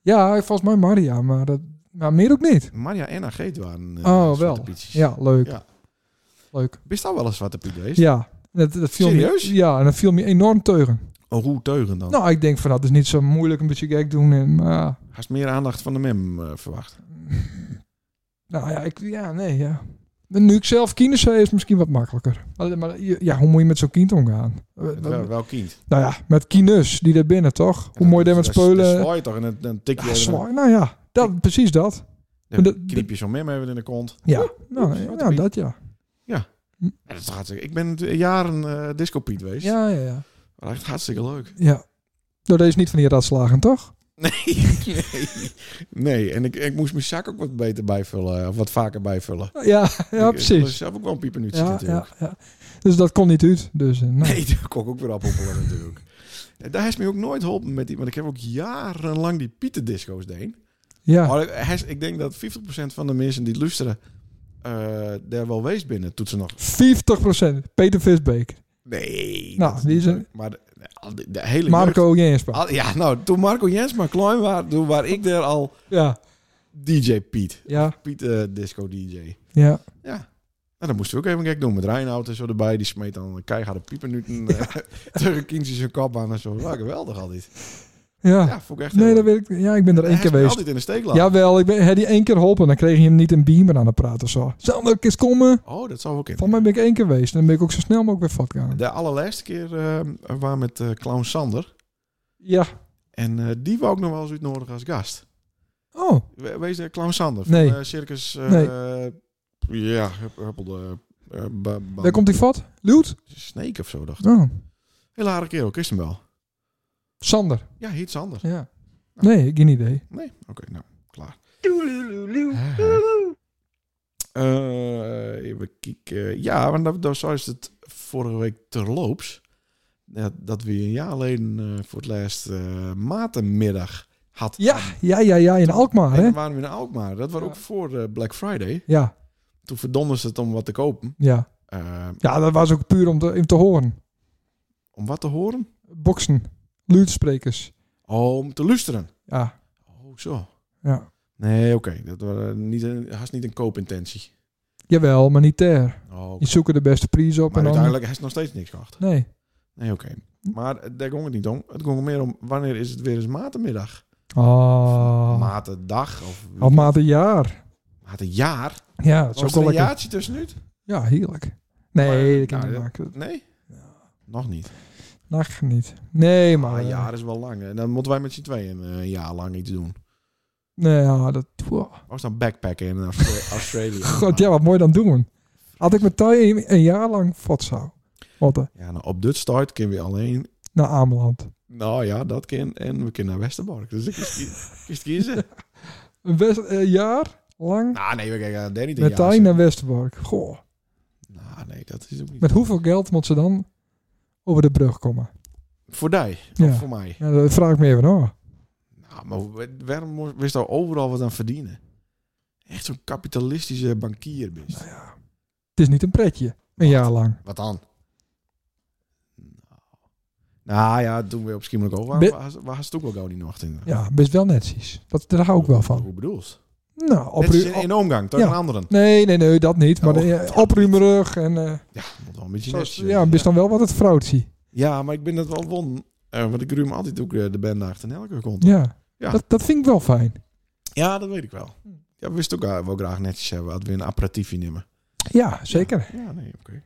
Ja, volgens mij Maria, maar, dat, maar meer ook niet.
Maria en Ageet waren eh,
Oh,
Zwarte
wel.
Pietjes.
Ja, leuk.
Ja.
Leuk.
Bist al wel een Zwarte Piet geweest?
Ja, dat, dat viel
Serieus?
Me, ja, en dat viel me enorm teugen.
Oh, hoe teugen dan?
Nou, ik denk van dat is niet zo moeilijk een beetje gek doen. En, maar,
Haast meer aandacht van de mem eh, verwacht.
nou ja, ik, ja, nee, ja. Nu ik zelf kinderen zei, is het misschien wat makkelijker. Maar, maar je- ja, hoe moet je met zo'n kind omgaan? Eh,
Het
wat-
wel, wel kind.
nou ja, met kines die daar binnen, toch? Hoe mooi daar met
Dat
speulen.
zwaai je toch en dan- dan tik je...
Ja,
en dan-
zwaar. Nou ja, dat, precies dat.
dan
dat-
kniep je zo'n mem even in de kont.
Ja, nou,
Zwarte
ja
Piet.
dat ja.
En dat is hartstikke... Ik ben natuurlijk jaren eh disco Piet geweest.
Ja, ja, ja.
Maar echt hartstikke leuk.
ja. Nou, dat is niet van die ratslagen, toch?
nee. nee, en ik, ik moest mijn zak ook wat beter bijvullen. Of wat vaker bijvullen.
Ja, ja
Ik- Ik was
precies.
zelf ook wel een piepernuutje
Ja,
natuurlijk.
ja, ja. Dus dat kon niet uit. Dus, eh, nou.
Nee, daar kon ik ook weer appelen natuurlijk. En daar heeft me ook nooit geholpen met die... Want ik heb ook jarenlang die pietendisco's deed.
Ja,
Maar hij is- ik denk dat 50% van de mensen die luisteren eh, daar wel wees binnen toetsen nog.
50%. Peter Visbeek.
Nee.
Nou,
dat
die
niet
is een-
leuk. Maar de, de- de- de hele
Marco Jenspa.
jeugd- al- ja, nou, toen Marco Jensma klein was, toen waar ik daar al
Ja,
DJ Piet.
ja,
Piet eh, Disco DJ.
ja.
Ja. Nou, dat moesten we ook even gek doen met Reinoud en zo erbij. Die smeet dan keiharde piepenuten eh terug een kindje zijn kop aan en zo. Ja, geweldig al dit.
Ja,
Ja, vond ik echt
Ah. nee,
heel
dat
leuk.
weet ik. niet. Ja, ik ben er
Hij
één
is
keer
me
geweest.
altijd in de steek laten.
Jawel, ik ben, heb die één keer geholpen. Dan kreeg je hem niet een beamer aan het praten of zo. Zal ik eens komen?
Oh, dat zou wel kunnen.
Van mij ben ik één keer geweest. En dan ben ik ook zo snel mogelijk weer vat gaan.
De allerlaatste keer eh waren met eh, Clown Sander.
Ja.
En eh, die wou ik nog wel eens uitnodigen als gast.
Oh,
We- Wees de Clown Sander van
Nee.
eh, Circus... eh, Ja, Hup- Huppelde... eh, Ba- Ba-
daar komt die vat. Luut?
Snake of zo, dacht ik.
Oh,
Heel aardig kerel, kist hem wel.
Sander.
Ja, heet Sander.
Ja. Nee, ik geen idee.
Nee? Oké, nou, klaar. Eh, even kijken. Ja, want dat, dat zo is het vorige week terloops. Ja, dat we een jaar geleden eh, voor het laatst eh matenmiddag had.
Ja, ja, ja, ja. In Alkmaar,
En
hè?
dan waren we in Alkmaar. Dat was
Ja.
ook voor eh, Black Friday.
Ja,
Toen verdonden ze het om wat te kopen.
ja.
Eh,
Ja, dat was ook puur om te, om te horen.
om wat te horen?
Boksen. Luutsprekers.
Om te luisteren.
Ja,
Oh, zo.
ja.
Nee, oké. Dat was eh, niet een, haast niet een koopintentie.
Jawel, maar niet ter.
Oh, oké.
Je zoekt de beste prijs op
Maar
en dan...
uiteindelijk heeft nog steeds niks gehad.
Nee.
Nee, oké. Maar eh, daar ging het niet om. Het ging meer om wanneer is het weer eens matenmiddag?
Oh.
Matendag of
Of maat een jaar.
matenjaar?
Ja, dat is ook
Was
wel
er een
lekker.
jaartje tussen nu?
Ja, heerlijk. Nee, dat kan
nou,
ik niet
dat-
maken.
Nee? Nog niet.
Nacht niet. Nee, maar...
Maar een
eh,
jaar is wel lang. En dan moeten wij met z'n tweeën eh, een jaar lang iets doen.
Nee, ja, dat... wow.
Of dan backpacken in Austra- Australië.
God, ja, wat mooi dan doen. Had ik met Thij een, een jaar lang vat zou. Motten.
Ja, nou, op dit start kunnen we alleen...
Naar Ameland.
Nou ja, dat kan. En we kunnen naar Westerbork. Dus ik kies, kies kiezen.
Een west, eh, jaar lang
nou, nee, we kijken naar Danny.
met Tijn naar Westerbork. Goh.
Nou, nee, dat is ook niet...
Met hoeveel geld moet ze dan over de brug komen?
Voor die.
Ja.
Of voor mij.
Ja, dat vraag ik me even af.
Nou, maar wa- waarom moest- wist daar overal wat aan verdienen? Echt zo'n kapitalistische bankier bist.
Het is niet een pretje. Een jaar lang.
Nou Wat dan? Nou, nou ja, toen we op Schiemelijk over
Be-
waren, was- was het ook wel gauw die nacht in.
Ja, best wel netjes. Dat, daar hou ik wel van.
Hoe bedoel je?
Nou,
Het is in,
opru-
in omgang, toch?
Ja.
Een anderen.
Nee, nee, nee, dat niet. Maar
Oh.
eh, opruimerig en... eh
Ja, moet wel een beetje
Zoals-
netjes
ja,
zijn.
best dan wel wat het vrouwtje.
Ja, maar ik ben dat wel won. eh, want ik ruim altijd ook eh, de band achter elke kont. Ja.
Ja, Dat, dat vind ik wel fijn.
dat weet ik wel. Ja, we wist ook eh, wel graag netjes hebben. Hadden we een aperitiefje nemen.
Ja, zeker.
Ja, nee, oké.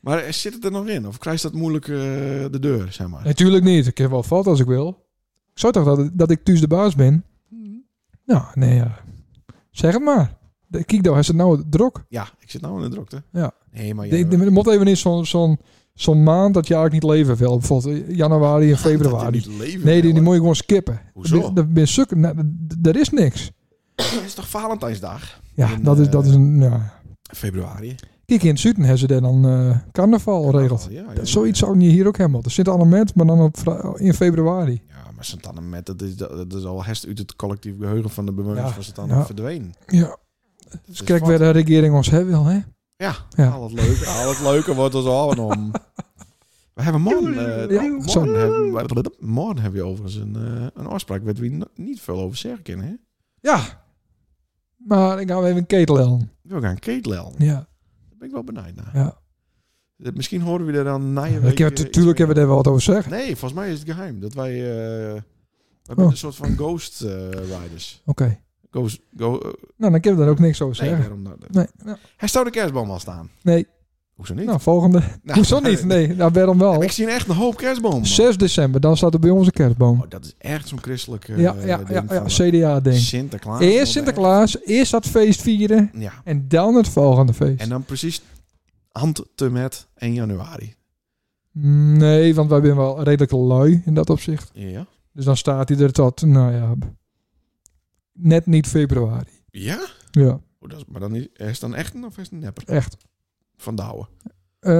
Maar eh, zit het er nog in? Of krijgt dat moeilijk eh, de deur, zeg maar?
Natuurlijk niet. Ik heb wel fout als ik wil. Ik zou toch dat, dat ik thuis de baas ben?
Mhm.
Nou, nee, ja. Zeg het maar. De- Kijk, daar is het nou druk.
Ja, ik zit nou in de drukte.
Ja.
Nee, maar ja,
De- de- Er moet even in zo'n zo'n zo'n maand dat je eigenlijk niet leven wil. Bijvoorbeeld eh, januari en
dat
februari.
je niet leven
Nee, die,
wil,
die moet je gewoon skippen.
Hoezo?
Dat- Dat ben suk. nou, d- d- Er is niks.
hè. Het is toch Valentijnsdag?
Ja,
En,
dat is,
eh,
dat is een... Ja.
Februari.
Kijk, in het zuiden hebben ze daar dan eh, carnaval regeld.
Ja, ja,
Dat- Zoiets zou je hier ook hebben. Er zit allemaal mensen, maar dan op, vrij- in februari.
Ja, maar Santana met, dat is, dat is al herst uit het collectief geheugen van de bewoners
Ja,
van Santana
ja.
verdwenen.
Ja.
Dat is
Dus kijk
wat.
waar de regering ons hebben wil, hè?
Ja,
Ja.
al het leuke, al het leuke wordt ons allemaal om. We hebben morgen, eh,
Ja, zo.
morgen, hebben, we- morgen hebben we overigens een, eh, een afspraak waar we n- niet veel over zeggen kunnen. hè?
Ja. Maar ik hou even een ketel aan.
We gaan ketelel.
Ja.
Daar ben ik wel benieuwd naar.
ja.
Eh, Misschien horen we er dan na Ah, je eh,
Ik heb, natuurlijk hebben we daar wel wat over zeggen.
Nee, volgens mij is het geheim dat wij... eh we
Oh.
zijn een soort van ghost eh, riders.
Oké.
Ghost... Go, eh,
Nou, dan kunnen we daar ook niks over
nee,
zeggen.
daarom dat-
Nee. Nou,
Hij zou de kerstboom al staan.
nee.
Hoezo niet?
nou volgende.
Nou,
Hoezo niet? Nee, nou, waarom
Maar
wel?
Ik zie echt een hoop kerstbomen. man.
6 december, dan staat er bij ons een kerstboom.
Oh, dat is echt zo'n christelijk eh,
Ja, ja,
ding
ja,
van,
ja.
eh,
CDA-ding.
Sinterklaas.
Eerst Sinterklaas, eerst dat feest vieren
Ja,
en dan het volgende feest.
en dan precies hand te met 1 januari.
Nee, want wij zijn wel redelijk lui in dat opzicht.
Ja?
Dus dan staat hij er tot, nou ja, net niet februari.
Ja?
Ja,
Oh, dat is, maar dan is, is het dan echt een of is het een nepper?
echt.
Van Douwe.
Eh,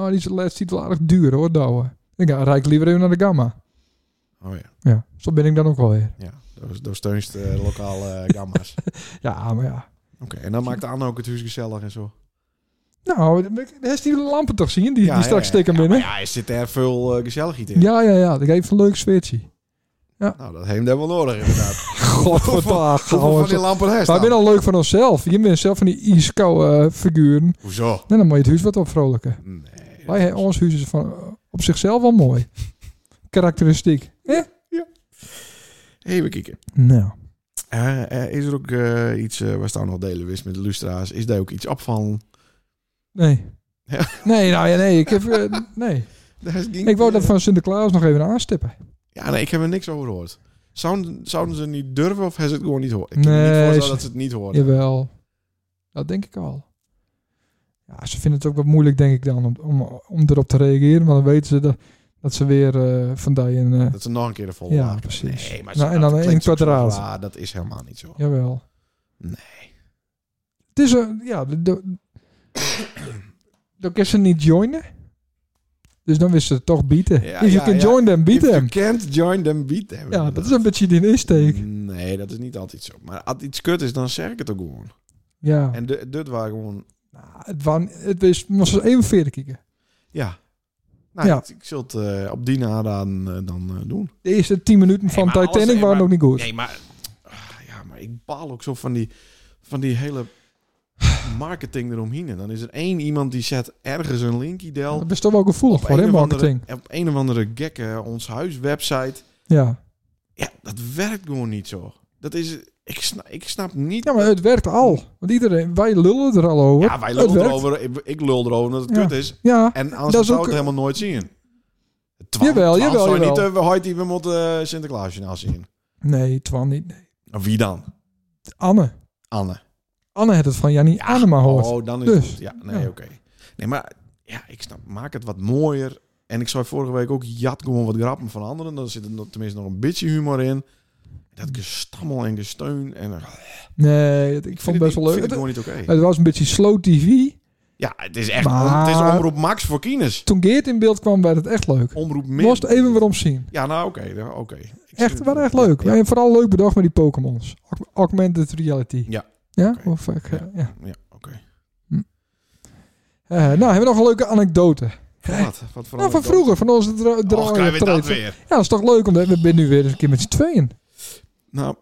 oh, die is de laatste titel aardig duur hoor, Douwe. Ik ga rijk liever even naar de Gamma.
Oh ja,
Ja, zo ben ik dan ook wel weer.
ja. Door, door steunst eh, lokale eh, gamma's. Oké,
Ja, maar ja.
en dan maakt Anne ook het huis gezellig en zo.
Nou, daar is die lampen toch zien, die,
Ja,
die straks steken
ja,
binnen.
maar ja, er zit er veel eh, gezelligheid in.
Ja, ja, ja. Dat geeft een leuk sfeertje.
Nou, dat heeft hem wel nodig inderdaad.
Godverdaag.
Hoeveel van die lampen heeft
Maar
dan?
we zijn al leuk van onszelf. Je bent zelf van die ijskoude eh, figuren.
Hoezo?
En dan moet je het huis wat opvrolijken.
Nee.
Wij, hè, ons huis is van, op zichzelf wel mooi. Karakteristiek. hè?
Even kijken.
Nou.
Eh, eh, is er ook eh, iets, eh waar staan nog delen wist met de lustra's, is daar ook iets op van?
Nee.
Ja.
Nee, nou ja, nee. Ik heb... eh, nee.
Daar is geen-
Ik wou dat van Sinterklaas nog even
Oh,
aanstippen.
Ja, nee, ik heb er niks over gehoord. Zouden, zouden ze niet durven of hebben ze het gewoon niet gehoord? Ik kan
Nee,
me niet
ze-
voorstellen dat ze het niet hoorden.
Jawel. Dat denk ik al. Ja, ze vinden het ook wat moeilijk, denk ik dan, om, om, om erop te reageren. Want dan weten ze dat, dat ze weer eh van die een... eh,
Dat ze nog een keer de volgende
ja,
waren.
precies.
Nee, maar
nou,
ze-
en
dat
dan in
klinkt zo
kwadraat.
zo- Ja, dat is helemaal niet zo.
Jawel.
Nee.
Het is een... Ja, de, de, dan kan ze niet joinen. Dus dan wist ze het toch bieten.
Ja,
If you
ja,
can
ja.
join them,
If
beat
you
them.
can't join them, beat them.
Ja, dat is een beetje die
Mm.
insteek.
Nee, dat is niet altijd zo. Maar als iets kut is, dan zeg ik het ook gewoon.
Ja.
En de- dit waren gewoon...
Nou, het, waren, het was, moest eens even verder kijken.
Ja. Nou,
Ja.
Ik, ik zal het eh, op die nadaan eh, dan eh, doen.
De eerste 10 minuten van
maar alles-
Titanic
nee,
waren
maar-
ook niet goed.
Nee, maar... Ah, Ja, maar ik baal ook zo van die, van die hele marketing eromheen. En dan is er één iemand die zet ergens een linkie del.
Dat is toch wel gevoelig voor, hè,
een of andere-
marketing.
op een of andere gekke eh, ons huis website.
Ja.
Ja, dat werkt gewoon niet zo. Dat is... Ik snap, ik snap niet...
ja, maar het werkt al. Want iedereen, wij lullen er al over.
Ja, wij
Het
lullen
werkt.
erover. Ik, ik lul erover dat het
Ja.
kut is.
Ja,
En anders
Dat is
zou
ook-
ik het helemaal nooit zien.
Jawel,
twaalf
jawel,
zou je
jawel.
niet, eh, we hoort die we moeten eh, Sinterklaasjournaal zien.
nee, Twan niet. Nee.
Nou, Wie dan?
Anne.
Anne.
Anne had het van Jannie Anne Annema hoort.
Oh, dan is
Dus,
het. Ja, nee,
ja.
oké. Nee, maar ja, ik snap, maak het wat mooier. En ik zei vorige week ook, jat gewoon wat grappen van anderen. Dan zit er nog- tenminste nog een beetje humor in. Dat gestammel en gesteun. En, eh, ik
Nee, dat- ik vond het best wel
Ik
leuk.
vind het
Het,
gewoon niet oké.
het was een beetje slow tv.
Ja, het is echt,
Maar-
het is omroep max voor kines.
Toen Geert in beeld kwam, werd het echt leuk.
Omroep min.
Moest even weer omzien.
Ja, nou oké. ja, oké. Ik
Echt,
zie-
wel echt leuk.
Ja,
En vooral leuk bedacht met die Pokémons. Aug- Augmented reality.
Ja.
Ja?
Oké.
Of, ik, eh, ja.
ja, oké.
Eh, nou, hebben we nog een leuke anekdote.
Van Wat? Wat voor
Nou, van
anekdote?
vroeger, van onze dra-
Och, krijgen we dat
draaioptreden.
weer.
Ja, dat is toch leuk, omdat we zijn nu weer eens een keer met z'n tweeën.
Nou,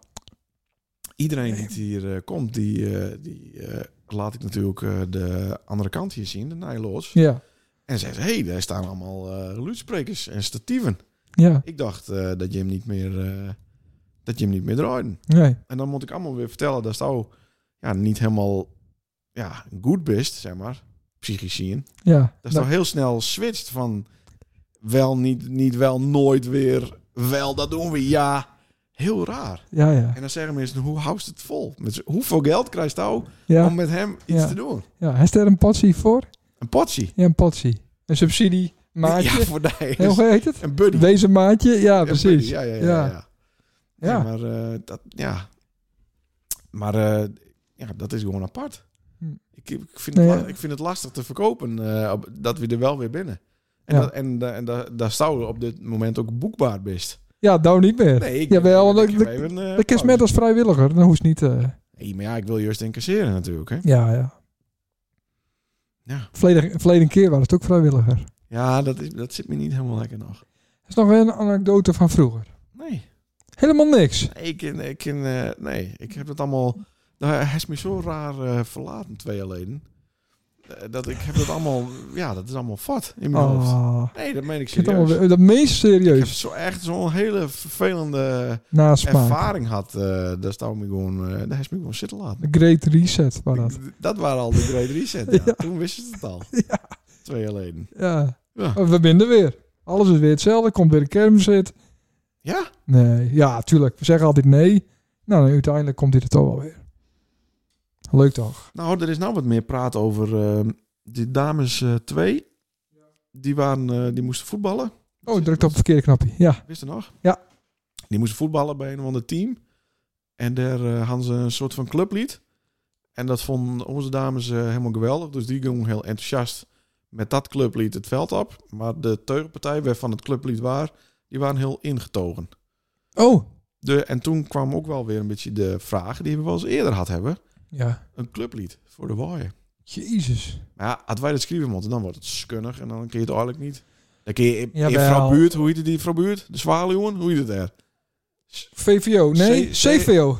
iedereen die hier eh, komt, die, eh, die eh, laat ik natuurlijk eh, de andere kant hier zien, de Nijloos.
Ja,
En zegt, hé, hey, daar staan allemaal eh luidsprekers en statieven.
ja,
Ik dacht eh, dat je hem niet meer... eh, dat je hem niet meer draaide.
nee.
En dan moet ik allemaal weer vertellen dat zou ja, niet helemaal ja, goed best, zeg maar. Psychisch zien.
Ja,
Dat is toch heel snel switcht van wel, niet, niet wel, nooit weer, wel, dat doen we, ja. Heel raar.
ja, ja.
En dan zeggen mensen, hoe houdt het vol? Met z'n- hoeveel geld krijgt jou
Ja,
om met hem iets
Ja.
te doen?
ja. Heeft er een potsie voor?
Een potje.
Ja, een potsie. Een subsidie, maatje.
Ja, voor de
Nee, hoe heet het?
Een buddy.
Wees een maatje, ja,
Een buddy,
precies.
Ja, ja, ja.
Ja.
ja. ja.
Ja.
Nee, maar eh, dat, ja. Maar eh, ja, dat is gewoon apart.
Hm.
Ik, ik, vind
Nee,
het, la-
ja.
ik vind het lastig te verkopen eh, op- dat we er wel weer binnen. En,
Ja.
dat, en, da- en da- daar zou op dit moment ook boekbaar best.
Ja, nou niet meer.
Nee, ik,
Jawel,
ik
dat-
geef
dat-
even, eh,
Dat is
pauze.
met als vrijwilliger, dan hoeft niet... eh,
Nee, maar ja, ik wil juist incasseren natuurlijk. Hè?
ja, ja.
Ja.
Verleden, verleden keer was het ook vrijwilliger.
Ja, dat, is, dat zit me niet helemaal lekker nog.
Dat is nog weer een anekdote van vroeger.
Nee,
Helemaal niks.
Nee, ik, ik, ik, eh, nee, ik heb het allemaal... Nou, Hij is me zo raar eh, verlaten, twee jaar geleden. Eh, dat ik heb het allemaal... Ja, dat is allemaal vat in mijn hoofd.
Ah,
Nee, dat meen ik
ik
serieus.
vind het allemaal weer- dat meest
Ik heb
serieus
zo echt zo'n hele vervelende
nasmaak.
ervaring had. eh daar stond me gewoon, eh, daar is me gewoon zitten laten.
Een great reset was dat.
Ik- dat waren al de Great Reset. ja.
Ja.
Toen wisten ze het al. Twee jaar geleden.
Ja. Oh,
Ja.
We binden weer. Alles is weer hetzelfde. Komt weer de kermzit.
Ja?
Nee. Ja, tuurlijk. We zeggen altijd nee. Nou, dan uiteindelijk komt dit er toch wel weer. Leuk toch?
Nou, er is nou wat meer praat over eh, die dames eh, twee. Die, waren, eh, die moesten voetballen.
Oh, ik drukte op het verkeerde knopje. Ja.
Wist je nog?
Ja.
Die moesten voetballen bij een ander team. En daar eh, hadden ze een soort van clublied. En dat vonden onze dames eh, helemaal geweldig. Dus die gingen heel enthousiast met dat clublied het veld op. Maar de teugenpartij waarvan het clublied waar, die waren heel ingetogen.
Oh.
De, en toen kwam ook wel weer een beetje de vraag die we wel eens eerder had hebben.
Ja.
Een clublied voor de waaien.
Jezus.
Maar ja, als wij dat schrijven moeten, dan wordt het skunnig. En dan kun je het eigenlijk niet. Dan kun je in, in
Jawel.
Vrouw Buurt, hoe heet het die Vrouw Buurt? De Zwaluwen, hoe heet het daar?
VVO. Nee.
C- C-
CVO.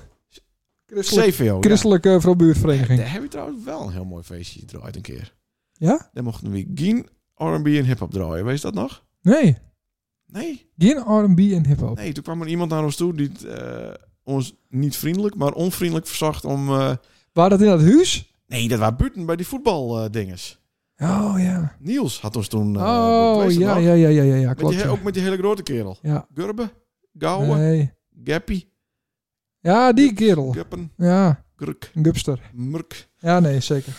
Christelijk,
CVO, ja.
christelijke vrouwbuurtvereniging.
Daar heb je trouwens wel een heel mooi feestje gedraaid een keer.
Ja?
Daar mochten we geen R&B en hip-hop draaien. Weet je dat nog?
Nee.
Nee.
Geen R&B en hiphop.
Nee, toen kwam er iemand naar ons toe die het, eh, ons niet vriendelijk, maar onvriendelijk verzocht om... eh,
Waar dat in dat huis?
nee, dat waren buiten bij die voetbaldinges.
Oh ja.
Niels had ons toen... eh,
Oh
weet je dat
ja,
nog?
ja, ja, ja, ja, ja.
Met
Klopt.
die, he-
ja.
ook met die hele grote kerel.
Ja.
Gurbe, Gouwe,
Nee. Oh.
Gappie,
Ja, die kerel.
Guppen,
Ja.
Gruk,
Een gupster.
Murk.
Ja, nee, zeker.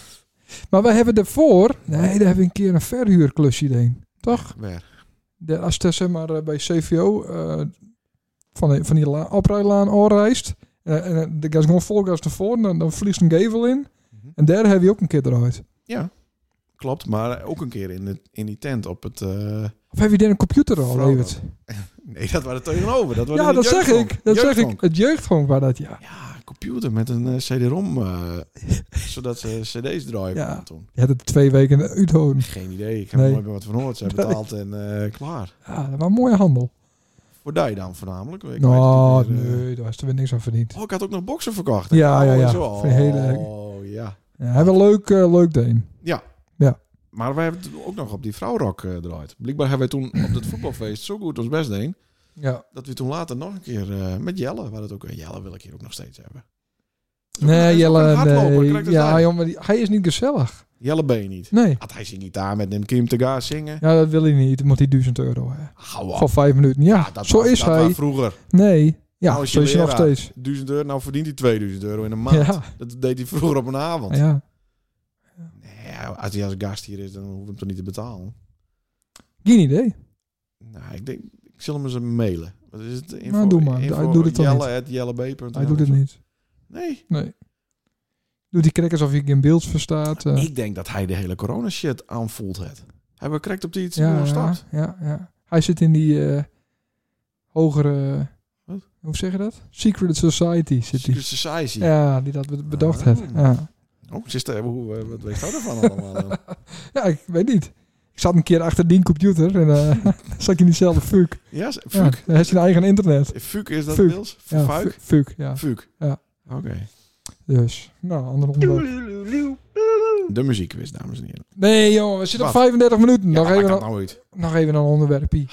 Maar we hebben ervoor... Nee, daar hebben we een keer een verhuurklusje gedaan. Toch?
Waar?
De, als het zeg maar eh, bij CVO eh, van die, van die la- oprijlaan oorreist... eh, en eh, de gas gewoon vol gas ervoor... dan, dan vliegt een gevel in.
Mhm.
En daar heb je ook een keer eruit.
Klopt, maar ook een keer in, de, in die tent op het... eh,
Of heb je daar een computer al,
Vrouw-
Evert?
Nee, dat waren er tegenover. Dat waren
Ja,
die
dat zeg
jeugdhonk.
ik. Dat zeg ik.
Jeugdhonk.
Het jeugdhonk waar dat, ja.
Ja, een computer met een eh, CD-ROM, eh, zodat ze CD's draaien
Ja.
kon toen.
Je had het twee weken in Uithoorn.
Geen idee, ik heb
Nee.
er nooit meer wat van gehoord. Ze hebben
Nee.
betaald en eh, klaar.
Ja, dat was een mooie handel.
Voor die dan voornamelijk. Ik
nou,
weet het niet meer, eh.
nee, daar was er weer niks aan verdiend.
Oh, ik had ook nog boksen verkocht.
Ja, ja,
Oh,
ja.
zo.
Voor hele-
Oh, ja.
Ja, hebben we leuk, eh, leuk deen.
Maar wij hebben het ook nog op die vrouwrok eh draait. Blijkbaar hebben wij toen op dat voetbalfeest zo goed ons best deed...
Ja.
dat we toen later nog een keer eh, met Jelle... waar het ook, Jelle wil ik hier ook nog steeds hebben. Hij
Nee,
is ook een
Jelle,
hardloper,
nee.
kijk eens
Ja,
daar.
jongen, maar die- hij is niet gezellig.
Jelle ben je niet.
Nee.
Had hij zijn gitaar met Nim Kim te gaan zingen?
Ja, dat wil hij niet. Dan moet hij 1000 euro hebben.
Hou op.
Voor vijf minuten. Ja,
dat
zo
was-
is
dat
hij.
was vroeger.
Nee. Ja,
Nou is
zo
je
is hij nog
leraar.
steeds.
1000 euro, nou verdient hij 2000 euro in een maand.
Ja,
Dat deed hij vroeger op een avond.
ja.
Nee, ja, als hij als gast hier is, dan hoef ik hem toch niet te betalen.
Geen idee.
Nou, ik denk, ik zal hem eens mailen. Wat is het? Info,
Nou, doe maar. Hij doet het toch
jelle,
niet?
at jelleb.nl
Hij doet het niet.
Nee.
Nee. Doet die krek alsof je geen beeld verstaat. eh.
Ik denk dat hij de hele corona shit aanvoelt het. Hij bekrijgt op die iets
ja, ja,
stapt.
ja, ja. Hij zit in die eh, hogere...
Wat?
Hoe zeg je dat? Secret Society zit
Secret
hij.
Society.
Ja, die dat be- bedacht
Ah.
heeft. Ja.
Oh, ze is daar- hoe, eh, wat weet jij ervan allemaal? eh? dan?
ja, ik weet niet. Ik zat een keer achter die computer en eh zat ik in diezelfde fuck.
Ja, ze-
Ja,
fuck.
hij heeft zijn eigen internet.
Fuck is dat
Fuck.
Niels?
Ja,
Fuik?
fu- fuck, ja.
Fuuk.
Ja.
Oké.
Dus, nou, ander onderwerp.
De muziekquiz, dames en heren.
Nee, jongen, we zitten op
Wat?
35 minuten.
Ja,
nog,
maak
even
dat
een,
nou uit.
nog even een onderwerpje.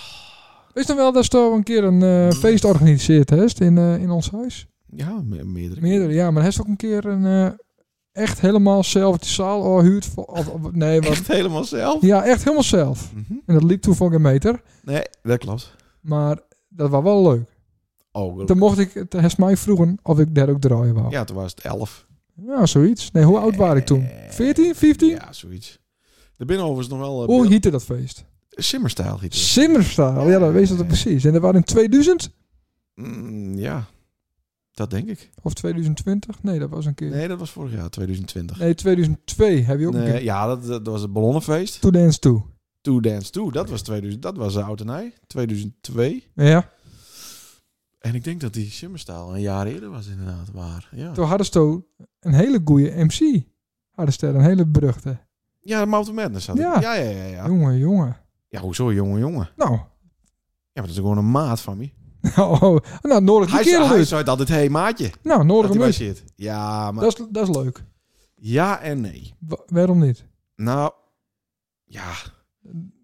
Is dan wel dat ze al een keer een eh, feest organiseerd heeft in, eh, in ons huis?
Ja, me- meerdere.
Meerdere, ja. Maar heeft ook een keer een eh, echt helemaal zelf die zaal al huurt. voor- Of, of- nee, wat,
Echt helemaal zelf?
ja, echt helemaal zelf.
Mhm.
En dat liep toen voor geen meter.
Nee, dat klopt.
Maar dat was wel leuk.
Oh, wel-
Toen mocht ik, het heeft mij vroegen of ik daar ook draaien wou. Ja,
ja, toen was het elf.
zoiets. Nee, hoe oud was ik toen?
Eh,
14, 15?
Ja, zoiets. De binnenhoven is nog wel... eh,
Hoe
beeld-
heette dat feest?
Simmerstijl giet het.
Simmerstaal, ja, dat wees
Eh.
dat er precies. En dat waren in 2000
Mm, ja, dat denk ik.
of 2020? Nee, dat was een keer.
Nee, dat was vorig jaar, 2020.
Nee, 2002 heb je ook een
Nee,
keer.
ja, dat, dat was het ballonnenfeest.
To Dance To.
Two Dance Two, dat was, 2000, dat was oud en Nij, 2002.
Ja,
En ik denk dat die Simmerstaal een jaar eerder was inderdaad waar. Ja,
toen hadden ze toen een hele goeie MC. Hadden ze daar een hele beruchte.
ja de Mouth of Madness had ik.
Ja.
Ja, ja, ja. Ja, ja.
Jongen, jongen.
hoezo, jongen, jongen.
Nou,
Ja, maar dat is gewoon een maat van me.
oh, nou, nodig die
Hij, zei-
kerel
hij
dus.
zei altijd, hé hey, maatje,
Nou,
dat
nodig
hij
hem
bij
dus.
zit. Ja, maar
Dat is, dat is leuk.
ja en nee.
Wa- waarom niet?
Nou, ja,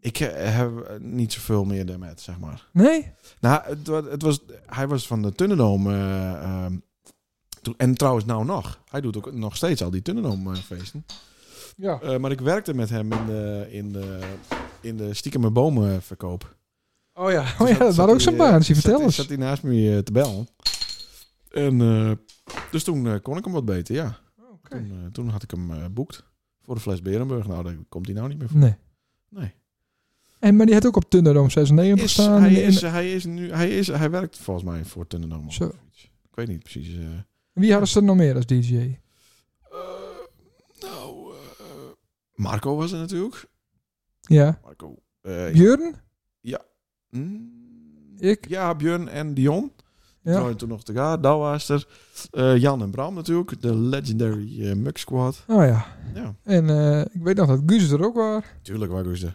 ik eh, heb eh, niet zoveel meer daarmee, zeg maar.
Nee?
Nou, het, wa- het was, hij was van de Tunnendoom. eh, ehm, toen- en trouwens nou nog. Hij doet ook nog steeds al die Tunnendoomfeesten.
Ja.
Eh maar ik werkte met hem in de, in de, in de stiekem mijn bomen verkoop.
Oh ja, oh, ja dat was ook zo'n baan. Zie, vertel
eh, Zat
eens.
hij naast me eh, te bellen. En, eh, dus toen eh, kon ik hem wat beter, ja. Toen, eh, toen had ik hem eh boekt voor de fles Berenburg. Nou, daar komt hij nou niet meer voor.
Nee.
Nee.
En, maar die had ook op Thunderdome 96
Is,
staan.
hij,
in-
is, hij, is nu, hij, is, hij werkt volgens mij voor Tunnendoom. of
Zo.
zoiets. Ik weet niet precies... eh,
Wie hadden ze er nog meer als DJ?
Eh, nou, eh, Marco was er natuurlijk.
Ja.
Marco. eh,
Björn?
mm,
Ik?
Ja, Björn en Dion. Die
Hm? Ja.
waren toen nog te gaan. Douw was er. Eh, Jan en Bram natuurlijk. De legendary eh Muk Squad.
Oh ja.
Ja,
En eh, ik weet nog dat Guus er ook was.
tuurlijk waar is de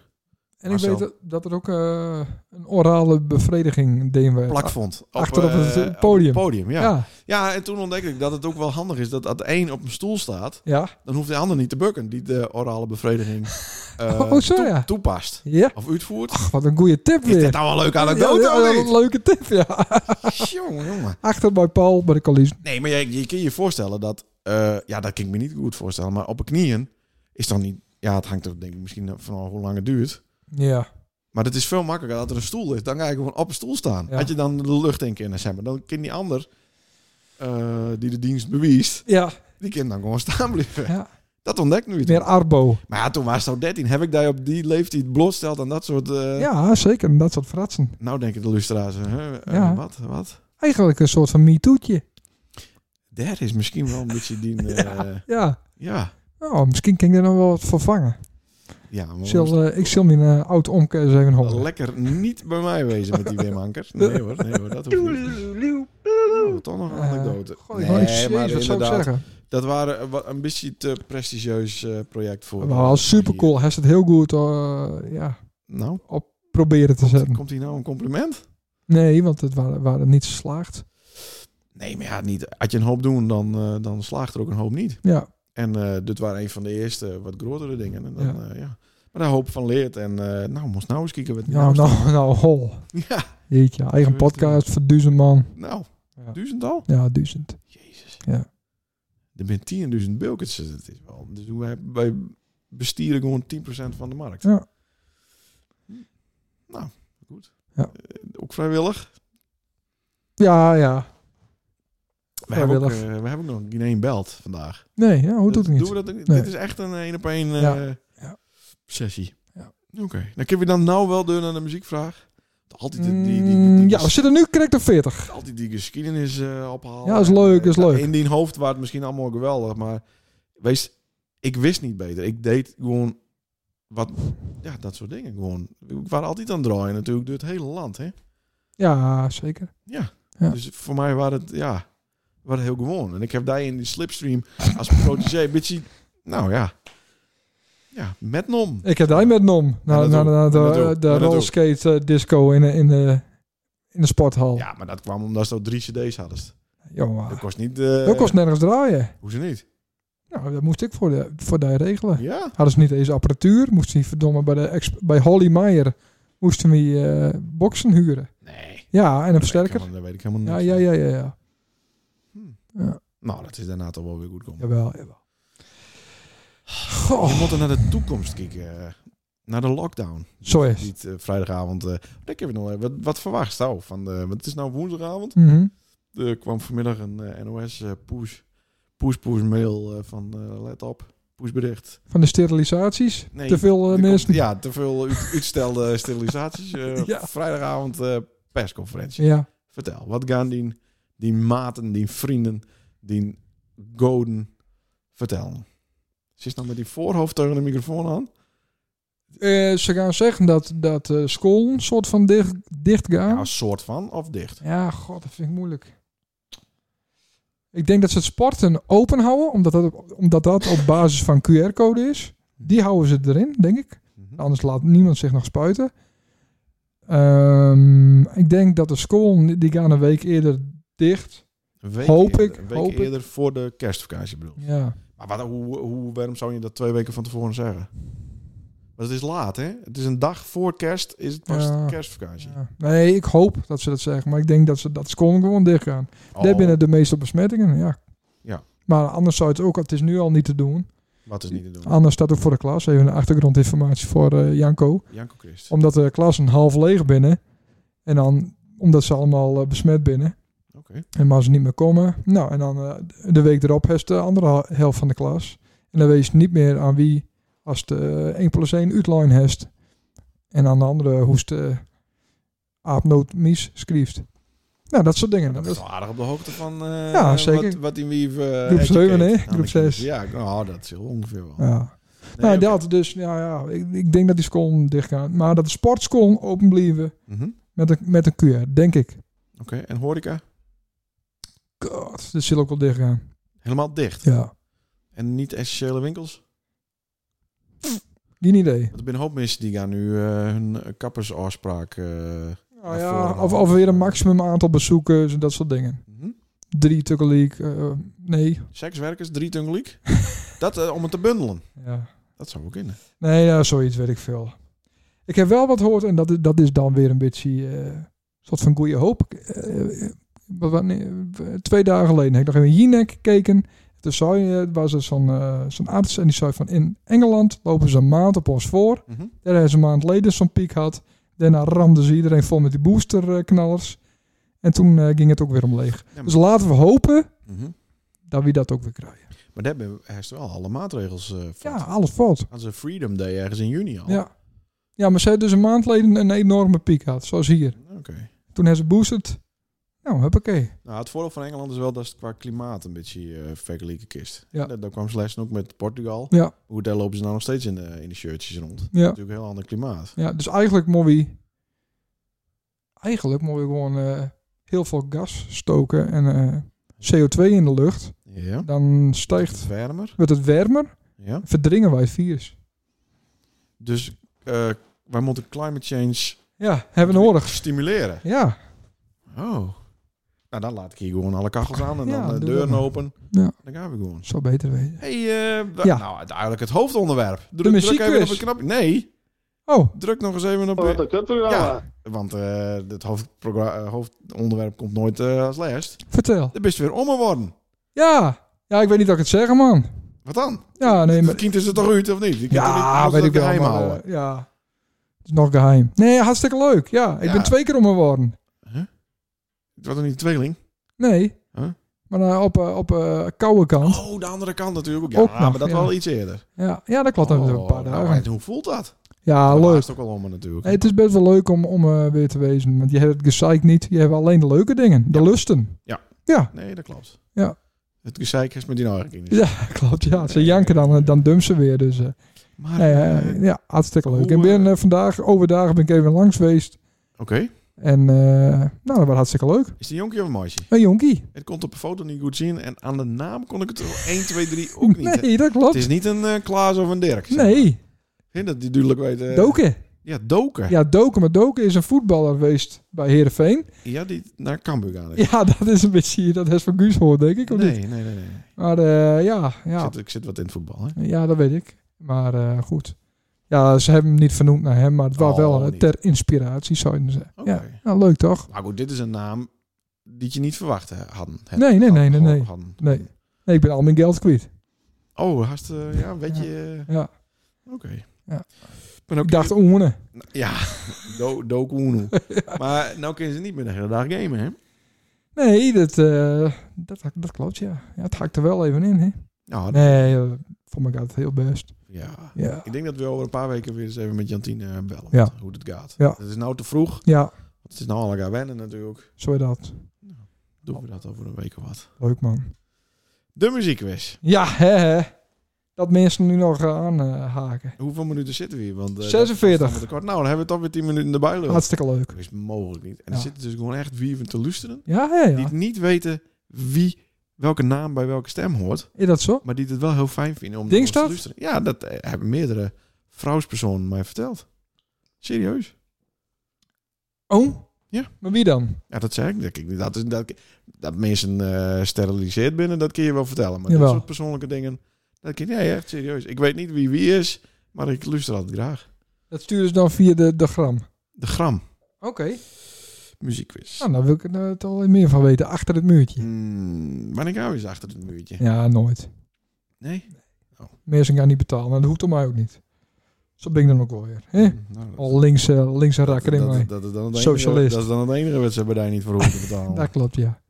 En
Marcel.
ik weet dat, dat er ook eh, een orale bevrediging deden we.
plak vond. Op,
Achter op het,
eh,
eh, podium.
op het podium, ja.
ja.
ja.
Ja.
en toen ontdekte ik dat het ook wel handig is dat als de een op een stoel staat,
Ja.
dan hoeft de ander niet te bukken die de orale bevrediging eh,
Oh, zo, ja.
toepast. Of uitvoert.
Ach, wat een goede tip
is
weer.
dit nou een leuke anekdote
Ja, ja,
of
ja,
niet?
een leuke tip, ja.
Jongen, jongen.
Achter bij Paul, bij de coulissen.
Nee, maar je, je kan je voorstellen dat... eh, ja, dat kan ik me niet goed voorstellen. Maar op een knieën is dan niet... Ja, het hangt er denk ik misschien van hoe lang het duurt.
Ja.
Maar het is veel makkelijker dat er een stoel is. Dan ga je gewoon op een stoel staan.
Ja.
Had je dan de lucht in kunnen hebben. Dan kan die ander eh, die de dienst bewijst...
Ja.
Die kan dan gewoon staan blijven.
Ja.
Dat ontdekt nu iets.
Meer Arbo.
Maar ja, toen was het al 13. Heb ik daar op die leeftijd blootsteld aan dat soort... eh,
Ja, zeker. En Dat soort fratsen.
Nou denken de lustra's. hè, eh,
Ja.
Wat, wat?
Eigenlijk een soort van MeToo'tje.
Daar is misschien wel een beetje die... eh, ja.
Ja.
ja.
Nou, misschien kan ik er nog wel wat voor vangen.
maar
Zal, eh, ik zal mijn eh, oud omke eens even horen.
Lekker niet bij mij wezen met die Wim Anker. Nee hoor, nee hoor, dat hoeft niet. Oh, toch nog een
Eh,
anekdote.
Goh, ik wou net-
Nee,
jezus,
maar
wat zou ik
inderdaad,
zeggen?
Dat waren eh, wat- een beetje te prestigieus eh, project voor.
Maar wel super cool. Hij is het heel goed eh, ja,
Nou,
proberen te
komt,
zetten.
komt hier nou een compliment?
Nee, want het waren, waren niet geslaagd.
Nee, maar ja, niet. Als je een hoop doen, dan, eh, dan slaagt er ook een hoop niet.
Ja,
En eh, dit waren een van de eerste eh, wat grotere dingen. En dan,
Ja.
ja. ja. Maar daar hoop van leert. En eh, nou, moest nou eens kijken wat
nou,
nou.
nou, nou, hol.
staat. Ja,
Jeetje,
Zo
eigen
is het
podcast voor duizend man.
nou,
Ja.
duizendtal.
Ja, duizend.
Jezus.
Ja.
Er zijn 10.000 bilkets. Dat is wel. Dus wij, wij bestieren gewoon 10% van de markt.
Ja.
Nou, goed.
Ja.
Eh, ook vrijwillig.
Ja, ja.
We, hebben ook,
Vrijwillig.
eh, we hebben ook nog geen één belt vandaag.
Nee, ja, hoe doet
Dat-
het niet?
Doen we dat, ook-
Nee.
Dit is echt een één op één eh,
Ja. Ja.
sessie.
Ja.
Oké. Dan kunnen we dan nou wel door naar de muziekvraag. Altijd die, die, die, die,
Mm, Ja, we zitten nu correct op 40.
altijd die geschiedenis eh, ophalen.
Ja, is leuk, is
En, eh,
leuk.
In die hoofd waar het misschien allemaal geweldig, maar wees, ik wist niet beter. Ik deed gewoon wat, ja, dat soort dingen gewoon. Ik was altijd aan het draaien natuurlijk door het hele land, hè.
Ja, zeker. Ja.
Dus voor mij was het, ja, was het heel gewoon. En ik heb daar in die slipstream als protégé een beetje, nou ja, ja, met nom.
Ik heb daar met nom. Naar,
dat
naar,
ook.
naar
En dat
de,
ook.
de
En dat ook.
rolskate eh, disco in, de- in, de, in de sporthal.
Ja, maar dat kwam omdat ze al drie cd's hadden.
Jongen,
Dat kost niet... eh
dat kost nergens draaien.
Hoezo niet?
Nou, dat moest ik voor, de, voor die regelen.
Ja.
Hadden ze niet eens apparatuur. Moesten die verdomme bij, de, ex- bij Holly Meyer moesten we eh, boksen huren.
Nee.
Ja, en een versterker.
Dat weet ik helemaal niet.
Ja, ja, ja, ja, ja.
Nou, dat is daarna toch wel weer goed komen.
Jawel, jawel.
Je
Goh,
moet er naar de toekomst kijken. eh, Naar de lockdown.
zo is het.
Niet eh, vrijdagavond. eh, ik heb nog, eh, wat, wat verwacht nou? Van de, want het is nou woensdagavond.
Mhm.
Er kwam vanmiddag een eh, NOS-push. push push mail eh, van eh, let op. Pushbericht.
Van de sterilisaties.
Nee,
Te veel eh,
Er
mensen.
komt- ja, te veel uit- uitstelde sterilisaties. eh,
Ja.
Vrijdagavond eh, persconferentie.
Ja.
Vertel, wat gaan die, die maten, die vrienden, die goden vertellen? Ze is nou met die voorhoofd tegen de microfoon aan.
Eh, ze gaan zeggen dat, dat eh, school een soort van dicht, dicht
Ja,
gaan.
een soort van, of dicht.
Ja, god, dat vind ik moeilijk. Ik denk dat ze het sporten open houden, omdat dat op, omdat dat op basis van QR-code is. Die houden ze erin, denk ik. Anders laat niemand zich nog spuiten. Ehm, ik denk dat de school, die gaan een week eerder dicht.
Een week
Hoop
eerder,
ik,
Een week
hoop ik.
eerder voor de kerstvakantie bedoel. ik.
Ja,
Maar wat, hoe, hoe, waarom zou je dat twee weken van tevoren zeggen? Want het is laat, hè? Het is een dag voor kerst, is het pas
Ja.
de kerstvakantie.
ja. Nee, ik hoop dat ze dat zeggen, maar ik denk dat ze dat school gewoon dicht gaan.
Oh,
Daar binnen de meeste besmettingen, ja.
Ja.
Maar anders zou het ook, het is nu al niet te doen.
Wat is niet te doen?
Anders staat ook voor de klas, even een achtergrondinformatie voor eh, Janko.
Janko Christ.
Omdat de klassen half leeg binnen. En dan omdat ze allemaal eh, besmet binnen.
Oké.
En maar ze niet meer komen. Nou, en dan eh, de week erop heeft de andere hel- helft van de klas. En dan weet je niet meer aan wie als de eh, 1 plus 1 uitline heeft. En aan de andere hoest eh aapnoot mies schrijft. Nou, dat soort dingen.
Dat
Dat
is wel aardig op de hoogte van eh,
Ja, zeker.
Wat, wat in wie... eh,
Groep zeven,
educate.
hè?
Aan de
Groep zes.
Ja, nou, dat is heel ongeveer wel.
ja.
Nee,
nou,
oké.
dat dus. Ja, ja. Ik, ik denk dat die school dicht gaan. Maar dat de sportschool open blijven
Mhm.
met een, met een QR, denk ik.
Oké, en horeca?
God, dat zal ook wel dicht gaan.
Helemaal dicht.
Ja.
En niet essentiële winkels?
Geen idee.
Want er zijn een hoop mensen die gaan nu eh, hun kappersafspraak... eh,
Nou
Naar
ja,
voren
of, of
halen.
weer een maximum aantal bezoekers en dat soort dingen.
mhm.
Drie tegelijk. eh nee.
Sekswerkers, drie tungeliek. dat eh, om het te bundelen.
Ja.
Dat zou ook kunnen.
Nee, ja, zoiets weet ik veel. Ik heb wel wat gehoord en dat, is- dat is dan weer een beetje eh, een soort van goede hoop. Eh, eh, wat- wanneer- eh, twee dagen geleden heb ik nog even in Jinek gekeken. Toen zei, eh, was er zo'n eh, zo'n arts en die zei van in Engeland lopen ze een maand op ons voor.
Mhm.
Daar hebben ze een maand geleden zo'n piek had. Daarna ramden ze iedereen vol met die boosterknallers. En toen eh, ging het ook weer omleeg.
maar-
Dus laten we hopen
Mhm.
dat we dat ook weer krijgen.
Maar daar hebben we heeft wel alle maatregels eh voor.
Ja, alles fout.
Aan zijn Freedom Day ergens in juni al.
Ja. ja, maar ze hebben dus een maand geleden een enorme piek had. Zoals hier.
Oké.
Toen hebben ze boosterd. Nou, huppakee.
Nou, het voordeel van Engeland is wel dat het qua klimaat een beetje eh vergelijken kist.
Ja.
Daar, daar kwam Slessen ook met Portugal.
Ja.
Hoe daar lopen ze nou nog steeds in de, in de shirtjes rond.
Ja,
Natuurlijk een heel ander klimaat.
ja dus eigenlijk moet we... Eigenlijk moet we gewoon eh, heel veel gas stoken en eh, CO2 in de lucht.
Ja.
Dan
Het
stijgt...
is warmer.
Wordt het warmer,
Ja.
verdringen wij het virus.
Dus eh, wij moeten climate change
Ja, hebben we nodig.
stimuleren.
Ja.
Oh. Nou, dan laat ik hier gewoon alle kachels aan en
Ja,
dan de
doe dat
deuren
maar.
open.
Ja.
Dan gaan we gewoon.
Zou beter weten.
Hey, eh, wa-
Ja.
nou, eigenlijk het hoofdonderwerp. Druk, druk
muziekquiz.
even op een knop. Nee,
Oh,
druk nog eens even op.
Wat een kutprogramma.
Ja, want eh, het hoofdprogra- eh, hoofdonderwerp komt nooit eh, als last.
vertel.
Dan bist je weer om geworden.
Ja. Ja, ik weet niet dat ik het zeggen, man.
Wat dan?
Ja, nee,
Het
maar...
kind is er toch uit, of niet? Je kunt toch niet
Ja,
alles
weet ik wel.
geheim
maar,
houden.
eh, ja. Het is nog geheim. Nee, hartstikke leuk. Ja, ik
Ja.
ben twee keer om geworden.
Het was er niet een tweeling.
Nee.
Huh?
Maar dan op, eh, op eh, koude kant.
Oh, de andere kant natuurlijk ook. Ja,
Ook nog,
maar dat
ja.
wel iets eerder.
Ja, ja dat klopt. Dan hebben we een paar
nou,
dagen.
en hoe voelt dat?
ja,
dat
leuk.
is ook wel allemaal natuurlijk.
Nee, het is best wel leuk om, om eh, weer te wezen. Want je hebt het gezeik niet. Je hebt alleen de leuke dingen. De lusten.
Nee, dat klopt.
Ja.
Het gezeik is met die eigen kinderen.
Ja, klopt. Ja, ze janken dan, eh, dan dump ze weer. Dus eh,
Maar,
nee,
eh,
eh, ja, hartstikke leuk.
hoe,
Ik ben
eh,
eh, vandaag, overdag ben ik even langs geweest.
oké.
En eh, nou, dat was hartstikke leuk.
Is het een jonkje of een meisje?
Een jonkie.
Het komt op de foto niet goed zien en aan de naam kon ik het er 1, 2, 3 ook niet.
Nee, dat
Het
klopt.
is niet een eh, Klaas of een Dirk. zeg maar.
Nee,
Hè, dat die duidelijk weet... eh,
Doken.
Ja, Doken. Ja,
Ja, Doken. Maar Doken is een voetballer geweest bij Heerenveen.
die naar Cambuur gaan. is.
Ja, dat is een beetje... Dat is van Guus hoor, denk ik. Of niet?
nee, nee, nee. nee.
Maar eh, ja,
Ik,
ja.
zit, ik zit wat in het voetbal, hè.
Ja, dat weet ik. Maar eh, goed. Ja, ze hebben hem niet vernoemd naar hem, maar het was
Oh,
wel eh,
niet.
ter inspiratie, zouden ze zeggen.
Oké.
Ja, nou, leuk toch?
Maar goed, dit is een naam die je niet verwacht eh, hadden. Het-
Nee, nee, nee, nee, nee.
hadden-
Nee. Nee, ik ben al mijn geld kwijt.
Oh, hast, eh, ja, weet je... eh,
Ja.
Oké.
Ja.
Ik ben ook
Ik dacht, oene.
Ja, do, doku Uno. Maar nou kunnen ze niet meer de hele dag gamen, hè?
Nee, dat, eh, dat, dat klopt, ja. ja. Het hakt er wel even in, hè?
Nou,
Nee, eh, voor mij gaat het heel best.
ja.
Ja.
Ik denk dat we over een paar weken weer eens even met Jantine eh, bellen.
Ja.
Hoe het gaat.
Ja.
Het is nou te vroeg. want
Ja,
Het is nou al elkaar wennen natuurlijk.
zo is dat.
Doen we dat over een week of wat.
Leuk, man.
De muziekquiz.
Ja, hè, hè. Dat mensen nu nog eh, aan aanhaken.
Hoeveel minuten zitten we hier? Want, eh, dat-
46.
dat is allemaal te kort. Nou, dan hebben we toch weer 10 minuten erbij lopen.
Hartstikke leuk.
Dat is mogelijk niet. En
Ja.
er zitten dus gewoon echt wieven te luisteren.
Ja, hè, ja.
Die niet weten wie welke naam bij welke stem hoort.
Is dat zo?
Maar die het wel heel fijn vinden om
Denk
ons te
dat?
luisteren. Ja, dat eh, hebben meerdere vrouwspersonen mij verteld. Serieus?
Oh?
Ja.
Maar wie dan?
Ja, dat zei ik. Dat, ik- dat, is, dat, dat mensen eh steriliseerd binnen, dat kun je wel vertellen. Maar
Jawel.
dat soort persoonlijke dingen, dat kun je nee, echt serieus. Ik weet niet wie wie is, maar ik luister altijd graag.
Dat sturen ze dan via de, de gram.
De Gram
Oké.
muziekquiz.
Nou, daar wil ik er eh, toch wel meer van weten. Achter het muurtje.
Hmm, wanneer gaan we eens achter het muurtje?
Ja, nooit.
Nee?
Mensen gaan niet betalen. En dat hoeft om mij ook niet. Zo ben ik dan ook wel weer. Hè?
Nou, dat-
Al links, eh, linkse rakker in
dat,
mij.
dat, dat is dan het
Socialist.
Enige, dat is dan het enige wat ze bij daar niet voor hoeven te betalen.
Dat klopt, ja.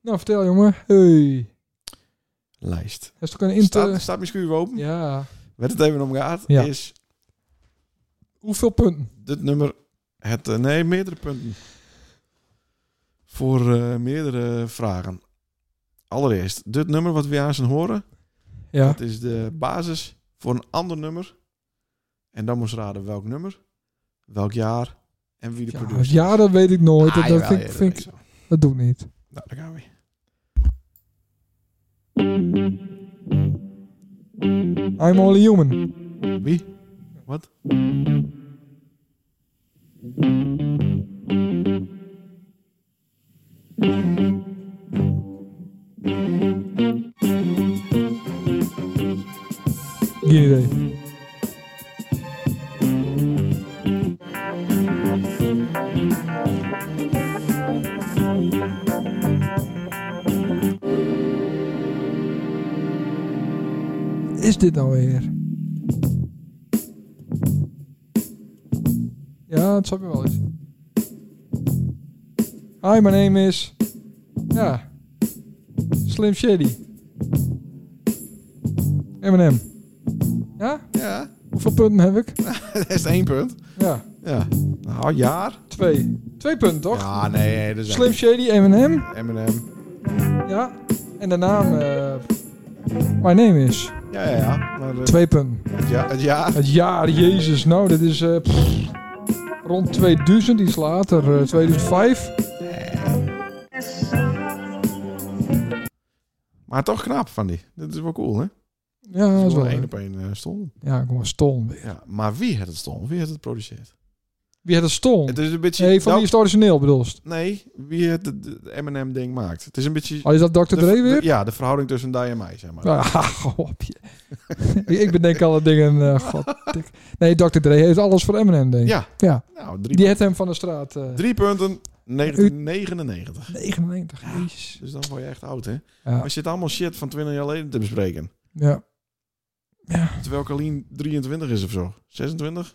Nou, vertel jongen. Hey.
Lijst.
Is toch een
Staat,
inter...
staat mijn schuur open?
Ja.
Waar het even om gaat,
Ja.
is
Hoeveel punten?
dit nummer het eh, nee meerdere punten voor eh, meerdere vragen. Allereerst dit nummer wat we aan zijn horen,
Ja.
dat is de basis voor een ander nummer. En dan moest raden welk nummer, welk jaar en wie de
Ja,
producer. is.
ja, dat weet ik nooit.
Ah,
dat, dat
jawel,
vind,
ja,
ik-
dat
vind
weet
ik-
ik wel.
dat doe ik niet.
Nou, daar gaan we.
I'm only human.
Wie? Wat?
Geen idee. Is dit nou weer? Ja, het zat me wel eens. Hi, my name is... Ja. Slim Shady. M&M. Ja?
Ja,
Hoeveel punten heb ik?
dat is één punt.
Ja,
Ja. Nou, jaar.
twee. Twee punten, toch?
Ja, nee, nee, dat is
Slim Shady, M&M.
M&M.
Ja. En de naam... eh, My Name Is.
Ja, ja, ja. Maar, eh,
Twee punten.
het ja, het jaar.
Het jaar, jezus. Nou, dit is... eh, pff, rond 2000, iets later. eh, 2005.
Maar toch knap van die. Dat is wel cool, hè?
Ja, dat is wel...
één
leuk.
op één eh, stonden.
Ja, ik was stom.
Ja, maar wie heeft het stonden? Wie heeft het geproduceerd?
Wie had het stom?
Het is een beetje...
Nee, van
nou,
wie is het origineel bedoeld?
nee, wie het de- de M&M-ding maakt. Het is een beetje...
Oh, is dat Dr. Dre
de-
weer?
de- ja, de verhouding tussen die en mij, zeg maar.
Ja, op je. ik bedenk alle dingen. eh, goddik. Nee, Dr. Dre heeft alles voor Eminem, denk ik.
Ja.
Ja.
Nou, drie,
Die heeft hem van de straat. eh,
drie punten. 1999.
99. Jezus.
Dus dan word je echt oud, hè? Maar
Ja.
je zit allemaal shit van 20 jaar geleden te bespreken.
ja.
Terwijl Kalien 23 is of zo. 26?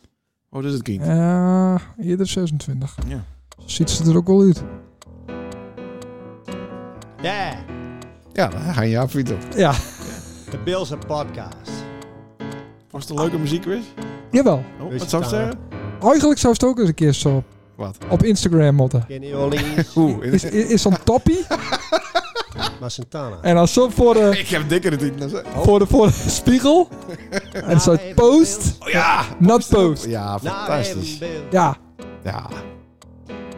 Oh, dat is het kind.
Ja, Eh, eerder 26.
Ja.
Ziet ze er ook wel uit.
Ja.
Ja, dan ga je afvieten. Was
Ja,
De Bills en podcast.
het een leuke muziekquiz?
jawel.
Oh,
Weet
wat
je
zou ik
daar?
zeggen?
Eigenlijk zou het ook eens een keer zo
Wat?
op Instagram moeten.
Kenny Orleans,
Oeh,
Is, is, is zo'n toppie
maar Santana.
en dan zo voor de,
ik heb dikkere titels. hè?
voor de, voor de spiegel. En
Ah, Nou,
zo post,
Oh ja!
not post.
Ja, fantastisch.
Ja,
Ja.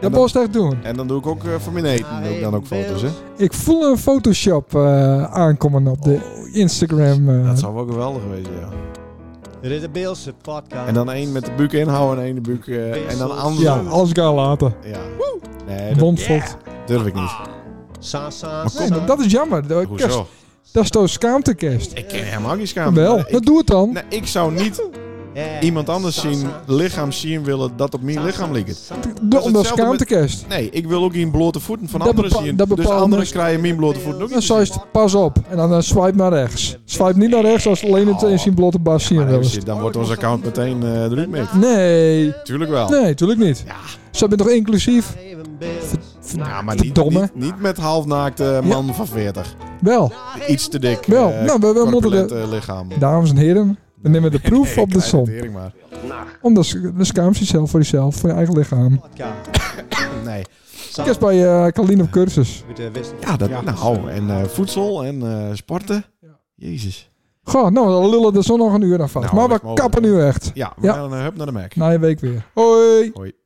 dat
dan-
moest echt doen.
En dan doe ik ook eh, voor mijn
Nou,
eten doe ik dan ook foto's, hè?
Ik voel een Photoshop eh, aankomen op de Instagram. eh.
Oh, Dat zou wel geweldig geweest, ja.
Dit is de Bills en podcast.
En dan één met de buik inhouden en één de buik... eh, en dan anders.
ja, als ik haar later.
Ja. Nee, dat
Wondvol.
durf ik niet.
Sa, sa,
Maar
sa.
Nee, dat- dat is jammer. Dat- Ah, kerst-
Hoezo?
Dat is toch schaamtekerst?
Ik ken helemaal geen schaamte.
Wel,
Ik,
dat doe het dan.
nee, ik zou niet
Ja.
iemand anders
Sa,
zien
sa,
lichaam zien willen dat op mijn
sa,
lichaam
sa,
ligt.
sa.
De,
hetzelfde
omdat
met-
schaamtekerst.
Nee, ik wil ook geen blote voeten van
Dat
anderen
bepaal-
zien.
dat
Dus
bepaal-
anderen
dus-
krijgen mijn blote voeten ook
Dan
niet.
zou je het pas op. En dan eh, swipe naar rechts. Swipe niet naar rechts als het alleen het in zijn blote bas zien
Oh. Maar
wil.
dan zit- Dan wordt ons account meteen eh eruit mee.
Nee.
Tuurlijk wel.
Nee, natuurlijk niet.
Ja.
Ze bent toch inclusief?
Even Bills.
Ja, maar niet,
Verdomme.
niet, niet met halfnaakte man van 40.
Wel.
Iets te dik.
Wel,
eh,
nou, we- we moeten de-
corpulente lichaam.
Dames en heren, we nemen de proef
Nee,
op de
krijg het
som.
tering maar.
Omdat ze- de schaamt zichzelf voor zichzelf, voor je eigen lichaam.
Podcast.
Nee.
Sa-
Ik was bij eh Kaline op cursus.
Met de wissel.
Ja, dat,
Ja.
nou, en eh, voedsel en eh, sporten. Jezus.
Goh, nou, dan lullen de zon nog een uur aan vast.
Nou,
maar
dat
we
is mogelijk.
kappen nu echt.
Ja, we
Ja.
gaan eh, hup naar de Mac.
Na je week weer. Hoi.
Hoi.